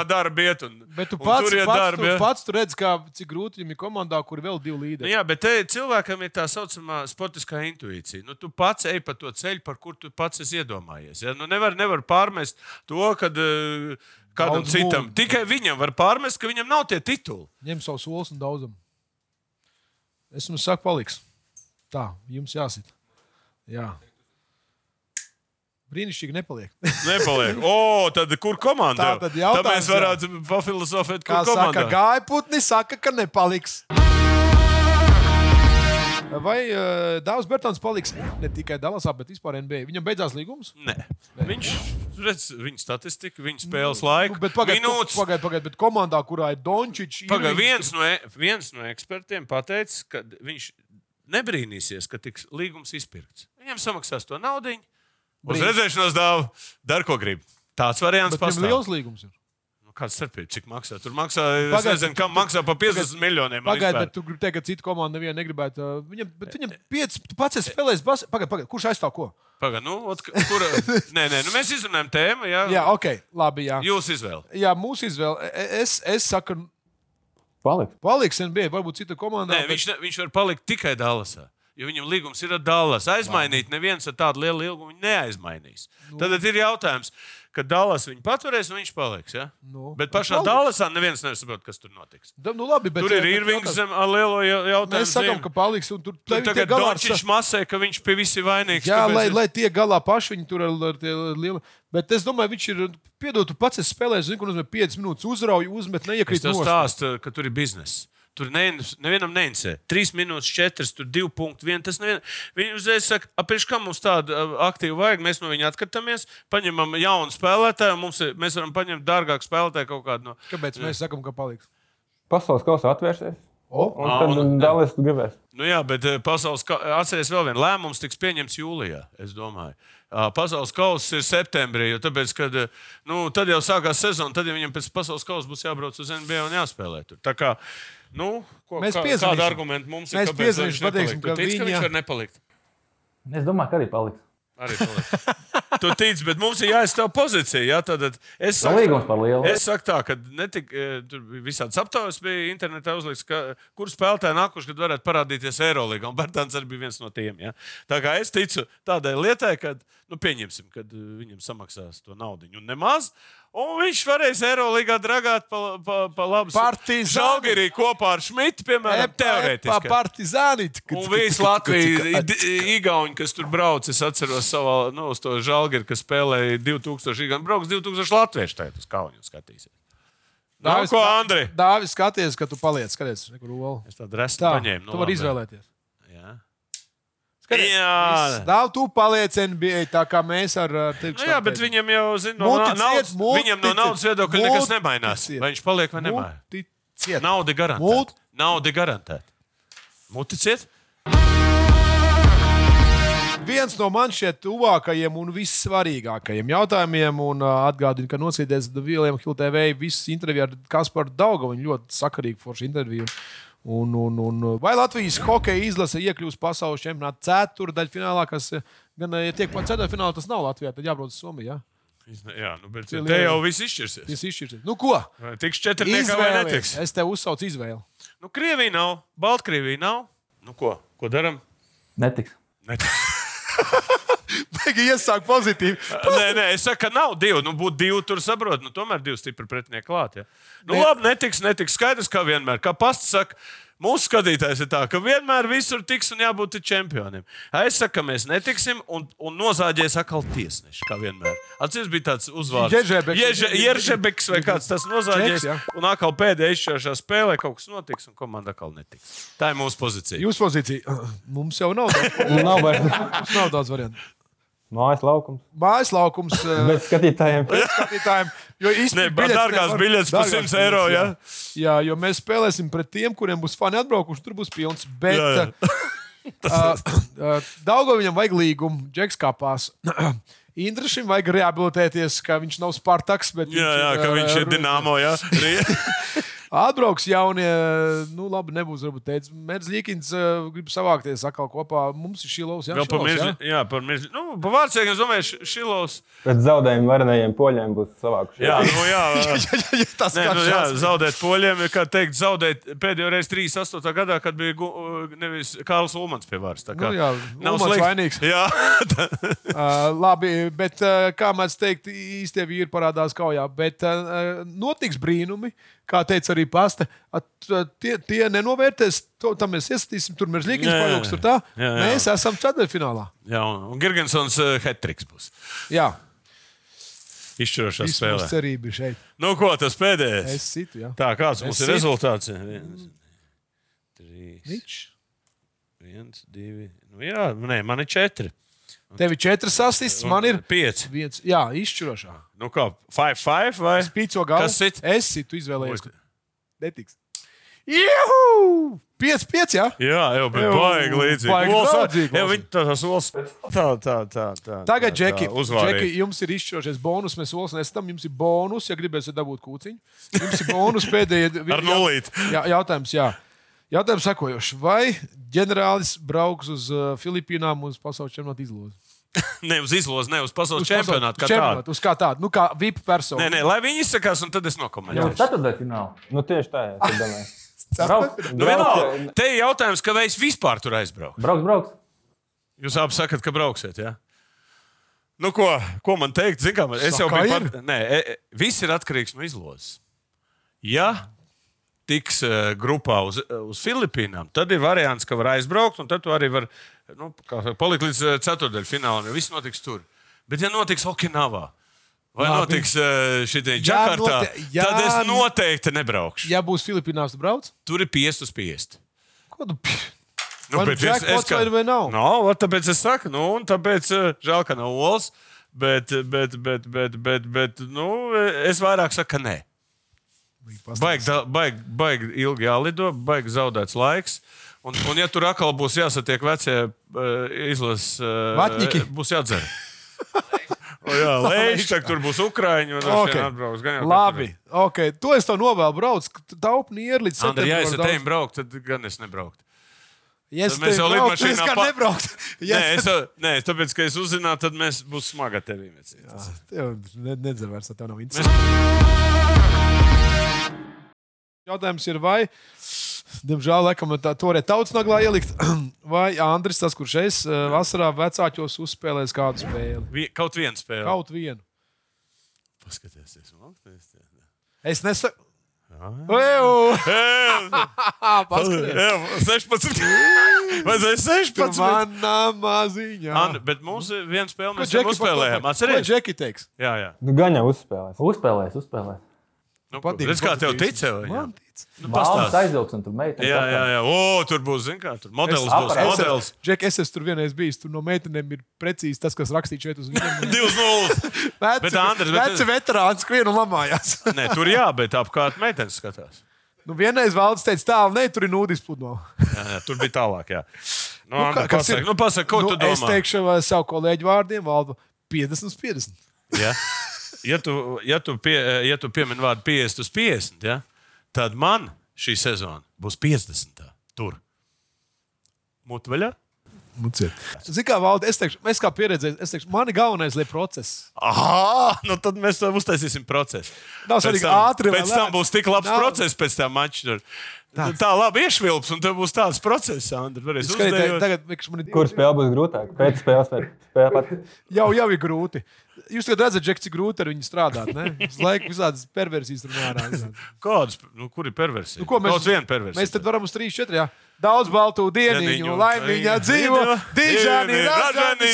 Speaker 2: bet, eh,
Speaker 3: darbi iet. Un,
Speaker 2: Bet tu
Speaker 3: un
Speaker 2: pats, pats,
Speaker 3: tur iet
Speaker 2: darbi,
Speaker 3: darbi.
Speaker 2: tu,
Speaker 3: ja.
Speaker 2: pats tu redz, kā, cik grūti viņam ir komandā, kur ir vēl divi līderi.
Speaker 3: Nu, jā, bet te cilvēkam ir tā saucamā sportiskā intuīcija. Nu, tu pats ej pa to ceļu, par kur tu pats esi iedomājies. Ja? Nu, nevar, nevar pārmest to, kad, eh, kādam
Speaker 2: Daudz
Speaker 3: citam.
Speaker 2: mūžu.
Speaker 3: Tikai viņam var pārmest, ka viņam nav tie tituli.
Speaker 2: ņem savu soli un daudzam. Es jums saku, paliks. Tā, jums jāsit. Jā. Brīnišķīgi nepaliek.
Speaker 3: Nepaliek. O, tad kur komanda?
Speaker 2: Tā tad
Speaker 3: tev?
Speaker 2: jautājums,
Speaker 3: mēs varētu pafilozofēt,
Speaker 2: Kā
Speaker 3: kur
Speaker 2: saka,
Speaker 3: komanda.
Speaker 2: gāja putni, saka, ka nepaliks. Vai uh, Dārzs Bērtāns paliks ne tikai Dallasā, bet vispār NBA? Viņam beidzās līgums?
Speaker 3: Nē. Viņš redz viņa statistiku, viņa spēles laiku.
Speaker 2: Nu, bet pagaid,
Speaker 3: minūtes.
Speaker 2: Pagaid, pagaid, bet komandā, kurā ir Dončičs,
Speaker 3: Pagaid, viens, no, e- viens no ekspertiem pateica, ka viņš nebrīnīsies, ka tiks līgums izpirkts. Viņam samaksās to naudu. Uz
Speaker 2: Brīnums.
Speaker 3: redzēšanos dāvā dara, ko grib. Tāds variants
Speaker 2: tas ir
Speaker 3: pastāv.
Speaker 2: liels līgums. Ir.
Speaker 3: Nu, Kāds starpība, cik maksā? Tur maksā, es
Speaker 2: Pagaid,
Speaker 3: nezinu, kam maksā pa 50 miljoniem. man
Speaker 2: Pagaidiet,
Speaker 3: vispār. E,
Speaker 2: bet tu gribi teikt, ka cita komanda nevienu negribētu. uh, Viņam, bet viņam pieci, tu pats esi spēlējis basketbolu. Pagaidiet, pagaid, kurš aizstāv ko?
Speaker 3: Pagaid, nu, ot, kur,
Speaker 2: <laughs>
Speaker 3: nē, nē, nu, mēs izrunājam tēmu. Jā,
Speaker 2: Jā, ok, labi. Jā,
Speaker 3: Jūs izvēle.
Speaker 2: jā mūsu izvēle. E- Es, es saku,
Speaker 4: Paliks.
Speaker 2: paliks NBA, varbūt cita komanda.
Speaker 3: Nē, viņš, ne, viņš var palikt tikai Dallasā. Jo viņam līgums ir ar Dallas. Aizmainīt, neviens ar tādu lielu ilgumu viņu neaizmainīs.
Speaker 2: Nu.
Speaker 3: Tad ir jautājums, ka Dallas viņu paturēs un viņš paliks. Ja?
Speaker 2: Nu,
Speaker 3: Bet pašā
Speaker 2: paliks.
Speaker 3: Dallasā neviens nesaprot, kas tur notiks.
Speaker 2: Da, nu, labi, bet,
Speaker 3: Tur ir
Speaker 2: bet
Speaker 3: īrvings
Speaker 2: jautājums-
Speaker 3: zem ar lielo jau- jautājumu.
Speaker 2: Mēs sakām, ka paliks. un Tur
Speaker 3: Tur
Speaker 2: tev ir
Speaker 3: tagad
Speaker 2: galā. ar
Speaker 3: Dončits
Speaker 2: sa-
Speaker 3: masē, ka viņš pie visi vainīgs.
Speaker 2: Jā,
Speaker 3: tāpēc
Speaker 2: lai,
Speaker 3: es-
Speaker 2: lai tie galā paši viņi tur ir ar tie lieli. Bet es domāju, viņš ir. Piedod, tu pats esi spēlējis, zinu, kur nozīmē 5 minūtes uzrauju, uzmet,
Speaker 3: Es
Speaker 2: neiekrīt.
Speaker 3: tev
Speaker 2: nost.
Speaker 3: stāstu, ka tur ir biznesa. Tur ne, nevienam neinteresē. Trīs minūtes, četras, tur divi punkti. Vien, tas nevien... Viņi uzreiz saka, apēš, kā mums tādu ā, aktīvu vajag. Mēs no viņa atkritāmies, paņemam jaunu spēlētāju. Mums, ir- mēs varam paņemt dārgāku spēlētāju kaut kādu no.
Speaker 2: Kāpēc mēs sakām, ka paliks?
Speaker 4: pasaules kausā atvērsies.
Speaker 2: O.
Speaker 4: Un tad
Speaker 3: un-
Speaker 4: Dāvidas gribēs.
Speaker 3: Nu jā, bet eh, pasaules ka... atcerieties, vēl viens lēmums tiks pieņemts jūlijā. Es domāju, Ā, pasaules kausa ir septembrī. jo Tāpēc, kad eh, nu, tad jau sākās sezona, tad ja viņam pēc pasaules kausa būs jābrauc uz NBA un jāspēlē. Tur. Tā kā, nu, ko,
Speaker 2: Mēs
Speaker 3: kā,
Speaker 2: piezīmēsim.
Speaker 3: kāda argumenta mums ir?
Speaker 2: Mēs
Speaker 3: kāpēc
Speaker 2: piezīmēsim,
Speaker 3: viņš
Speaker 2: pateiksim,
Speaker 3: nepalikt? Tu
Speaker 2: ka
Speaker 3: tici,
Speaker 2: viņa-
Speaker 3: ka viņš var nepalikt.
Speaker 6: Es domāju, ka arī paliks.
Speaker 3: Arī palikt. tu tici, bet mums ir jāizstāv pozīcija. Jā, tad es
Speaker 6: Tā līgums par lielu.
Speaker 3: Es saku, tā, ka netik, eh, tur bija visādas aptaujas, bija internetā uzlikts, ka, kur spēlētāji nākuši, kad varētu parādīties Eirolandā. Un Bērtāns arī bija viens no tiem. Ja? Tā kā es ticu tādai lietai, ka nu, pieņemsim, kad eh, viņam samaksās to naudu. Un nemaz. Un viņš varēs Eirolandā dragāt pa, pa, pa labu
Speaker 2: Partizani.
Speaker 3: Žalgirī kopā ar Šmitu, piemēram, Nu, teorētiski.
Speaker 2: Partizāni.
Speaker 3: Un visi Latvijas īstenībā, kas tur brauc, es atceros savā, nu, uz to žālgāri, kas spēlēja 2000 īstenībā, brauks 2000 latviešu tajā uz kauju skatīsies. Nav ko, Andri!
Speaker 2: Dāvis, skaties, ka tu paliec. Skaties, kur olu.
Speaker 3: Es tādu restu
Speaker 2: Tā,
Speaker 3: paņēmu.
Speaker 2: tu vari izvēlēties.
Speaker 3: Jā,
Speaker 2: Skaties,
Speaker 3: jā.
Speaker 2: Dāvis, tu paliec NBA, tā kā mēs ar uh, tevi.
Speaker 3: Ah, Nu, jā bet viņam jau zina, no,
Speaker 2: Multiciet,
Speaker 3: na- naudas-
Speaker 2: multiciet,
Speaker 3: viņam no naudas viedokļa nekas
Speaker 2: multiciet.
Speaker 3: nemainās. Vai viņš paliek vai
Speaker 2: Nu,
Speaker 3: nemainās?
Speaker 2: Multiciet.
Speaker 3: Nauda garantēta.
Speaker 2: Mult-
Speaker 3: Nauda garantēta. Muticiet?
Speaker 2: viens no man šeit tuvākajiem un vissvarīgākajiem jautājumiem. Un uh, atgādinu, ka noslēdzies Vilnius Hiltevei visas intervijas ar Kasparu Daugu. Viņa ļoti sakarīga forša intervija. Un, un, un, uh, vai Latvijas hokeja izlase iekļūs pasaules čempionāta ceturdaļfinālā, kas uh, gan uh, ja tiek pat ceturdaļfinālā, tas nav Latvijā, tad jābrauc uz Somiju. Jā?
Speaker 3: Jā, nu, bet
Speaker 2: Tie
Speaker 3: te jau
Speaker 2: lielie-
Speaker 3: viss izšķirsies.
Speaker 2: Tas izšķirs. Nu, ko?
Speaker 3: Vai Tiks četrniekā vai netiks?
Speaker 2: Izvēlies. Es tev uzsaucu izvēli.
Speaker 3: Nu, Krievija nav, Baltkrievija nav. Nu, ko, ko darām?
Speaker 6: Netiks.
Speaker 2: Tikai iesāk pozitīvi.
Speaker 3: Nē, nē, es saku, ka nav divi. Nu, būtu divi, tur saprotu. Nu, tomēr divi stipri pretinieki klāt. Ja? Nu,
Speaker 2: Ne-
Speaker 3: labi, netiks, netiks. Skaidrs, kā vienmēr. Kā pasts saka, mūsu skatītājs ir tā, ka vienmēr visur tiks un jābūt ir čempionim. Es saku, ka mēs netiksim un, un nozāģēs atkal tiesneši, kā vienmēr. Atcīm bija tāds uzvārds.
Speaker 2: Ježebeks.
Speaker 3: Ježe- Ježebeks vai kāds tas
Speaker 2: Čeks,
Speaker 3: nozāģēs.
Speaker 2: jā.
Speaker 3: Un atkal pēdējā izšķirošā spēlē kaut kas notiks un komanda atkal netiks. Tā ir mūsu pozīcija.
Speaker 2: Jūsu pozīcija. Mums jau nav daudz,
Speaker 4: Nu, Nav vairs
Speaker 2: mums nav daudz variantu.
Speaker 4: mājas laukums.
Speaker 2: Mājas laukums. Uh,
Speaker 4: Bet skatītājiem
Speaker 2: skatītājiem. Jo
Speaker 3: Ne,
Speaker 2: īstenībā
Speaker 3: bet dārgās biļetes pa 100 eiro,
Speaker 2: Jā. jā, jo mēs spēlēsim pret tiem, kuriem būs fani atbraukuši. Tur būs pilns. Bet
Speaker 3: Jā, jā.
Speaker 2: <laughs> Daudzā viņam vajag līgumu, Džeks <clears throat> kāpās. Indrašam vajag rehabilitēties, ka viņš nav Spartaks. bet
Speaker 3: Jā, jā, ka viņš ir
Speaker 2: ā,
Speaker 3: dināmo.
Speaker 2: <laughs>
Speaker 3: Jā, Rie-
Speaker 2: Atbrauks jaunie, nu labi, nebūs varbūt teicis. Mērķis Līkins grib savākties atkal kopā. Mums ir šī lausa
Speaker 3: Vēl par mirkli.
Speaker 2: <laughs>
Speaker 3: Jā, par mirkli. Nu, par vārdsēkiem, es domāju, šilos.
Speaker 4: pēc zaudējuma varenajiem poļiem būs savākuši.
Speaker 3: Jā, nu,
Speaker 2: <laughs>
Speaker 3: jā.
Speaker 2: Tas
Speaker 3: Nē,
Speaker 2: kā
Speaker 3: nu, jā,
Speaker 2: šāds.
Speaker 3: zaudēt poļiem, ir, kā teikt, zaudēt pēdējo reizi 38. gadā, kad bija Gu- uh, nevis Kārls Ulmans pie varas. Tā
Speaker 2: Nu,
Speaker 3: kā
Speaker 2: jā, Ulmans vainīgs.
Speaker 3: <laughs> Jā, tā,
Speaker 2: Uh, labi, bet uh, kā mēs teikt, īstie vīri parādās kaujā. Bet uh, notiks brīnumi, kā teica arī Pasta. At, uh, tie, tie nenovērtēs, to tam mēs iesaistīsim, tur mēs līkņus
Speaker 3: Jā, jā,
Speaker 2: paliks. tur tā.
Speaker 3: jā, jā.
Speaker 2: Mēs esam ceturdaļfinālā.
Speaker 3: jā, un, un Girgensons uh, Hetriks būs
Speaker 2: Jā,
Speaker 3: izšķirošā
Speaker 2: viss mūsu
Speaker 3: spēlē.
Speaker 2: cerība ir šeit.
Speaker 3: Nu, ko tas pēdējais?
Speaker 2: Es citu, jā.
Speaker 3: Tā, kāds mums
Speaker 2: Es
Speaker 3: ir
Speaker 2: sit.
Speaker 3: rezultāts? Viens, trīs,
Speaker 2: Viņš.
Speaker 3: viens, divi. Nu, jā, nē, man ir četri.
Speaker 2: Tev ir četras asistis, man ir
Speaker 3: pieci.
Speaker 2: viens. Jā, izšķirošā.
Speaker 3: Nu, kā, five, five vai?
Speaker 2: Es pīco galvu.
Speaker 3: Kas sit?
Speaker 2: Es citu izvēlējos.
Speaker 3: Oi.
Speaker 2: Netiks. Juhu! 5-5, jā.
Speaker 3: Jā, jau bija
Speaker 2: Jau, baigi
Speaker 3: baigi līdzīgi.
Speaker 2: draudzīgi
Speaker 3: Jā,
Speaker 2: olas.
Speaker 3: viņi tā tās olas. Tā, tā, tā. tā
Speaker 2: Tagad,
Speaker 3: tā,
Speaker 2: Džeki,
Speaker 3: tā,
Speaker 2: Džeki,
Speaker 3: uzvarēja.
Speaker 2: jums ir izšķirošais bonus. Mēs olas nesam. Jums ir bonus, ja gribēsiet dabūt kūciņu. Jums ir bonus pēdējie.
Speaker 3: <laughs> Ar nulīti.
Speaker 2: Jā, jautājums, jā. Jautājums sakojošs. Vai ģenerālis brauks uz uh, Filipīnām uz pasaules čempionāta izlozi?
Speaker 3: Ne uz izlozi, ne uz pasaules
Speaker 2: Uz
Speaker 3: čempionātu.
Speaker 2: pasaules
Speaker 3: Kā tādu.
Speaker 2: čempionātu, Uz kā tādu, nu kā VIP
Speaker 3: Nē,
Speaker 2: personu.
Speaker 3: nē, lai viņi izsakās, un tad es
Speaker 6: Jau
Speaker 3: nokomentēšu.
Speaker 6: ceturtajā finālā.
Speaker 4: Nu, tieši tā, jā, es domāju.
Speaker 6: Brauks,
Speaker 3: Nu, vienalga, te ir jautājums, ka vai es vispār tur aizbraucu.
Speaker 6: brauks, brauks.
Speaker 3: Jūs abi sakat, ka brauksiet. Ja? Nu, ko, ko man teikt? Zin, kā, man- es jau
Speaker 2: Saka,
Speaker 3: biju pat. Nē, e- e- viss ir atkarīgs no izlozes. Ja tiks eh, grupā uz, uz Filipīnām, tad ir variants, ka var aizbraukt, un tad tu arī var nu, kā saka, palikt līdz eh, ceturdaļfinālam, jo viss notiks tur. Bet, ja notiks Okinavā, vai Labi.
Speaker 2: Labi.
Speaker 3: notiks eh, šitie
Speaker 2: Jā,
Speaker 3: Džakartā,
Speaker 2: note- jā,
Speaker 3: tad es
Speaker 2: n-
Speaker 3: noteikti nebraukšu.
Speaker 2: Ja būs Filipīnās, tad brauc.
Speaker 3: Tur ir piest uz piest.
Speaker 2: Ko tu? pi-
Speaker 3: Nu,
Speaker 2: Vai nu
Speaker 3: bet es-
Speaker 2: jackpots
Speaker 3: es kā-
Speaker 2: vai- vai nav?
Speaker 3: Nav, vat tāpēc es saku, nu, un tāpēc eh, žēl, ka nav olas. Bet, bet, bet, bet, bet, bet nu, eh, es vairāk saku, ka nē. Baigi da- baigi- baigi ilgi jālido, baigi zaudēts laiks. Un, un ja tur atkal būs jāsatiek vecie eh, izlases eh,
Speaker 2: Vatņiki?
Speaker 3: būs
Speaker 2: <laughs>
Speaker 3: jādzer. O, jā, lēš, tak, tur būs ukrāņi. un droši vien atbrauks, gan jau
Speaker 2: Labi,
Speaker 3: katram.
Speaker 2: okay. to es tev novēlu, brauc, taupni ir līdz
Speaker 3: Andri, ja es ar tevi
Speaker 2: septembrim.
Speaker 3: brauktu, tad gan es nebrauktu.
Speaker 2: Ja es
Speaker 3: tad mēs
Speaker 2: tevi
Speaker 3: jau
Speaker 2: braucu,
Speaker 3: lidmašīnā
Speaker 2: es kā
Speaker 3: pa-
Speaker 2: nebraucu. <laughs>
Speaker 3: Nē,
Speaker 2: Ja
Speaker 3: es, nē, tāpēc, ka es uzzināju, tad mēs būsim smagi ar tevi. Jā,
Speaker 2: Tev ne- Nedzer vairs, tev nav interesanti. Jautājums ir, vai, diemžēl, laikam, tā toreiz tautas naglā ielikt, <clears throat> vai Andris, tas, kurš es eh, vasarā vecākos uzspēlēs kādu spēli.
Speaker 3: Vi, kaut viena spēle.
Speaker 2: Kaut vienu.
Speaker 3: Paskaties, es mākslinieks.
Speaker 2: Es nesaku. Ejau!
Speaker 3: <laughs>
Speaker 2: <laughs> Paskaties!
Speaker 3: Jā, 16. Vai tas ir 16?
Speaker 2: Manā maziņā.
Speaker 3: Anna, bet mums ir viena spēle,
Speaker 2: Ko
Speaker 3: mēs jau
Speaker 2: Džeki
Speaker 3: spēlējām.
Speaker 2: pateiks? Ko
Speaker 3: Atcerieties,
Speaker 2: Džeki teiks?
Speaker 3: jā, jā.
Speaker 4: Nu, gan jau uzspēlēs.
Speaker 6: Uzspēlēs, uzspēlēs.
Speaker 3: Nu,
Speaker 2: Patīk,
Speaker 3: Redz, kā tev
Speaker 2: patīk.
Speaker 3: ticēja. Jā,
Speaker 2: Man tic.
Speaker 3: nu,
Speaker 6: Mākslinieks
Speaker 3: pastāsti.
Speaker 6: aizvilks un tur meitene.
Speaker 3: jā, jā,
Speaker 6: kāpā.
Speaker 3: jā. O, tur būs, zin kā, tur modelis būs.
Speaker 6: sapratu.
Speaker 3: Modelis.
Speaker 2: Džek, es esmu tur vienreiz bijis. Tur no meitenēm ir precīzi tas, kas rakstīts šeit uz viņiem.
Speaker 3: 2-0. Bet, Andris, bet-
Speaker 2: Veci veterāns, kur vienu lamājās.
Speaker 3: <laughs> Nē, tur jā, bet apkārt meitenes skatās.
Speaker 2: Nu, vienreiz valdes teica, tālu, ne, tur ir nūdis pludmale.
Speaker 3: Jā, jā, tur bija tālāk, jā.
Speaker 2: Nu,
Speaker 3: Nu, nu,
Speaker 2: kā- kas ir?
Speaker 3: pasaka, nu, pasaka, ko tu domā?
Speaker 2: Es teikšu uh, savu kolēģu vārdiem, valdu 50 uz 50.
Speaker 3: Ja, <laughs> ja tu, ja tu, pie, eh, ja tu piemini vārdu 50 uz 50, ja, tad man šī sezona būs 50. Tur. Mutveļā?
Speaker 2: Nu, Zini, kā valde, es teikšu, es kā pieredzējis, es teikšu, man ir galvenais, lai process.
Speaker 3: Aha, nu tad mēs tev uztaisīsim procesu.
Speaker 2: Nav
Speaker 3: Pēc
Speaker 2: svarīgi,
Speaker 3: tam-
Speaker 2: ātri vai
Speaker 3: Pēc tam
Speaker 2: lēni.
Speaker 3: būs tik labs
Speaker 2: Nav-
Speaker 3: process, pēc tam mačs tur. Tā, tā labi iešvilps, un tev būs tāds process, Andri. Varēs
Speaker 2: Es skatos,
Speaker 3: uzdejot.
Speaker 2: tagad, vienkārši man ir
Speaker 4: Kur
Speaker 2: divi-
Speaker 4: spēle būs grūtāka? Pēc spēles vai spēle pat?
Speaker 2: Jau, jau ir grūti. Jūs tagad redzat, Džek, cik grūti ar viņu strādāt. ne? Visu laiku visādas perversijas runā ārā. visādas.
Speaker 3: Kādas, nu, kur ir perversija?
Speaker 2: Nu, ko mēs,
Speaker 3: Kaut viena perversija.
Speaker 2: Mēs tad varam uz 3, 4. Jā. Daudz baltu dienu,
Speaker 3: Dieniņu,
Speaker 2: laimīgā dzīvo,
Speaker 3: dzīvo,
Speaker 2: dižāni
Speaker 3: dižani,
Speaker 2: ražani
Speaker 3: ražani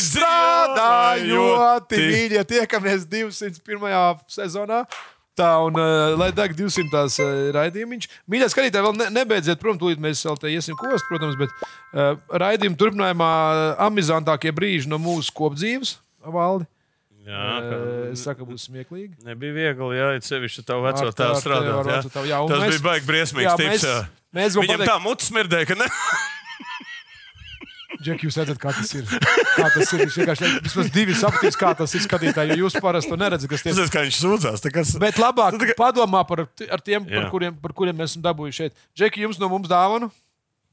Speaker 2: strādājot.
Speaker 3: dzīvojoti.
Speaker 2: Mīļie, tiekamies 201. sezonā. Tā, un, uh, lai deg 200. Uh, raidījumiņš. Mīļā skatītāji, vēl ne, nebeidziet, protams, tūlīt mēs vēl te iesim kost, protams, bet uh, raidījuma turpinājumā uh, amizantākie brīži no mūsu kopdzīves valdi.
Speaker 3: Jā,
Speaker 2: Uh,
Speaker 3: ka-
Speaker 2: es saku, būs smieklīgi.
Speaker 3: Nebija viegli, ja ir sevišķi tā
Speaker 2: Ar
Speaker 3: vecā
Speaker 2: tā-
Speaker 3: tā
Speaker 2: ar
Speaker 3: strādāt.
Speaker 2: tevi ar
Speaker 3: jā.
Speaker 2: veco tēvu, jā, un
Speaker 3: Tas
Speaker 2: mēs-
Speaker 3: bija baigi briesmīgs
Speaker 2: Jā,
Speaker 3: tips.
Speaker 2: mēs-
Speaker 3: jā.
Speaker 2: mēs gribam
Speaker 3: Viņam
Speaker 2: pateikt-
Speaker 3: tā mutes smirdēja, ka ne.
Speaker 2: <laughs> Džek, jūs redzat, kā tas ir. Kā tas ir. Viņš vienkārši vismaz divi saprotīs, kā tas ir skatītāji, jo jūs parasti to neredzat, kas tie ir.
Speaker 3: Tas kā viņš sūdzās. tā Kas...
Speaker 2: Bet labāk padomā par t- ar tiem, par
Speaker 3: Jā.
Speaker 2: kuriem, par kuriem mēs esam dabūjuši šeit. Džeki, jums no mums dāvana,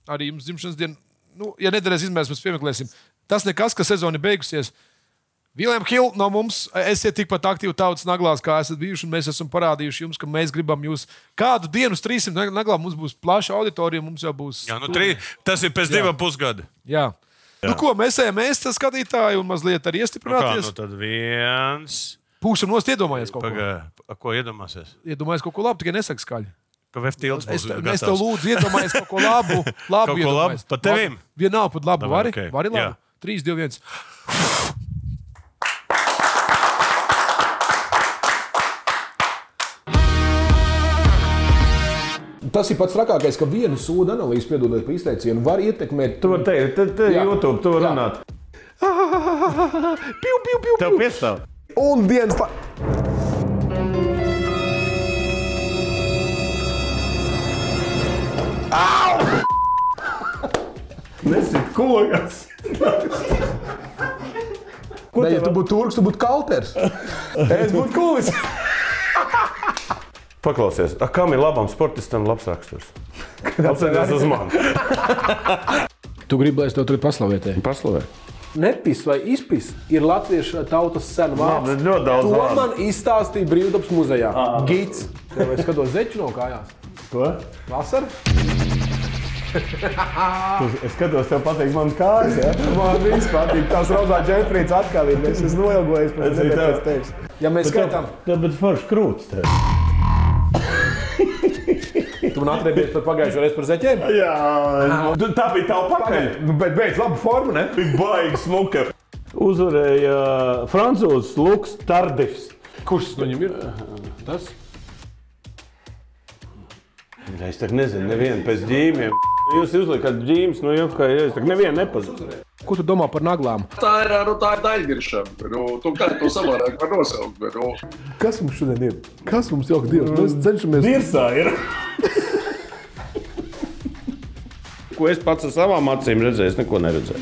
Speaker 2: arī jums dzimšanas diena. Nu, ja nedarēs izmērs, mēs piemeklēsim. Tas nekas, ka sezona ir beigusies. Vilnius Hill no mums, esiet tikpat aktīvi tautas naglās, kā esat bijuši. un Mēs esam parādījuši jums, ka mēs gribam jūs kādu dienu, uz 300 nag- naglā. Mums būs plaša auditorija, mums jau būs.
Speaker 3: Jā, nu, trī... Tas ir pēc diviem pusgadiem.
Speaker 2: Jā. Jā. Nu, ko mēs ejam, mēs tas skatītāji, un mazliet arī
Speaker 3: Nu, kā, nu,
Speaker 2: iestiprināties. Nu,
Speaker 3: tad viens.
Speaker 2: Pūsim nost, iedomājies kaut ko.
Speaker 3: Pagā... pa- Ko iedomāsies?
Speaker 2: Iedomājies kaut ko labu, tikai nesaki skaļi.
Speaker 3: Ka Veftīls
Speaker 2: Es,
Speaker 3: būs
Speaker 2: te- es tev
Speaker 3: gatavs.
Speaker 2: lūdzu, iedomājies kaut ko
Speaker 3: <laughs>
Speaker 2: labu. labu
Speaker 3: Kaut ko labu?
Speaker 2: iedomājies.
Speaker 3: Pa tevīm?
Speaker 2: Labi. Vienalga pat labu.
Speaker 3: Labi,
Speaker 2: Vari, okay.
Speaker 3: ok.
Speaker 2: vari labu.
Speaker 3: Jā.
Speaker 2: 3, 2, 1.
Speaker 8: Tas ir pats trakākais, ka vienu sūdu analīzi, piedodot par izteicienu, var ietekmēt.
Speaker 9: Tu vari teikt, tad te,
Speaker 8: Jā.
Speaker 9: YouTube, tu vari
Speaker 8: Jā.
Speaker 9: runāt.
Speaker 8: Piu, piu, piu,
Speaker 9: Tev piestāv.
Speaker 8: Un dienas pa...
Speaker 9: <laughs> Nesit kogas.
Speaker 8: Nē, ja tu būtu turks, tu būtu kalters. es būtu kūlis.
Speaker 9: Paklausies, a, kam ir labam sportistam labs raksturs? <laughs> Apsēties uz
Speaker 2: <laughs>
Speaker 9: mani.
Speaker 8: Tu gribi, lai es tev tagad paslavētēju.
Speaker 9: Paslavē.
Speaker 8: Nepis vai izpis ir latviešu tautas sena vārds.
Speaker 9: Man ir ļoti daudz
Speaker 8: To
Speaker 9: vārdu.
Speaker 8: man izstāstīja brīvdabas muzejā. Gids. Tev es skatos zeķu no kājās.
Speaker 9: Ko?
Speaker 8: Vasara?
Speaker 9: Tu, es skatos, tev patīk man kājas, jā?
Speaker 8: Man viss patīk. Tās rozā džemprīts atkal ir. Es esmu noilgojies
Speaker 9: Es
Speaker 8: pēc
Speaker 9: arī
Speaker 8: nedēļas
Speaker 9: tev.
Speaker 8: tevis. Ja mēs skaitām,
Speaker 9: Tev bet forši krūts tev.
Speaker 8: tu man atriebies par pagājušo reizi par zeķiem.
Speaker 9: Jā, es- Tu- Nu, tā bija tava pakaļ.
Speaker 8: Nu, Bet beidz labu formu, ne?
Speaker 9: Tik baigi smuka. Uzvarēja
Speaker 3: uh,
Speaker 9: francūzs Luks Tardivs.
Speaker 8: Kurš tas viņam ir? Tas?
Speaker 3: Ja es tagad nezinu, nevienu pēc ģīmiem. Jūs uzliekat ģīmis, nu jau kā es tagad nevienu nepazinu.
Speaker 2: Ko tu domā par naglām?
Speaker 10: Tā ir, nu, tā ir daļgriešana. Nu, tu kā to savādāk var nosaukt. bet, Nu.
Speaker 2: Kas mums šodien ir? Kas mums jau ir Dievs? Mēs cenšamies.
Speaker 3: Virsā ir. Ko es pats ar savām acīm redzēju, es neko neredzēju.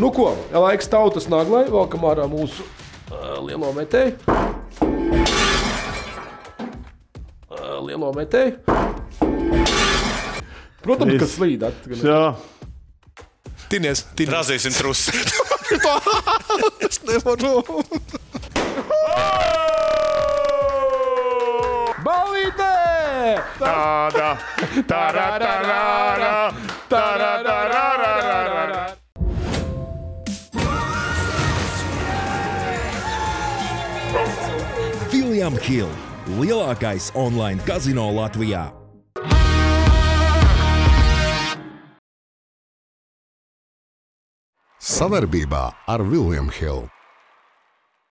Speaker 2: Nu ko, laiks tautas naglai, valkam ārā mūsu uh, lielo metēju. Uh, lielo metēju. Protams, ka slīd atpakaļ.
Speaker 3: Jā,
Speaker 11: Tinies, tinies.
Speaker 12: Razīsim trusi.
Speaker 11: Es nevaru.
Speaker 2: Balītē!
Speaker 3: tāda. Tarararara, tarararara.
Speaker 1: William Hill - lielākais online kazino Latvijā.
Speaker 13: Savarbībā ar Vilnius Hildu.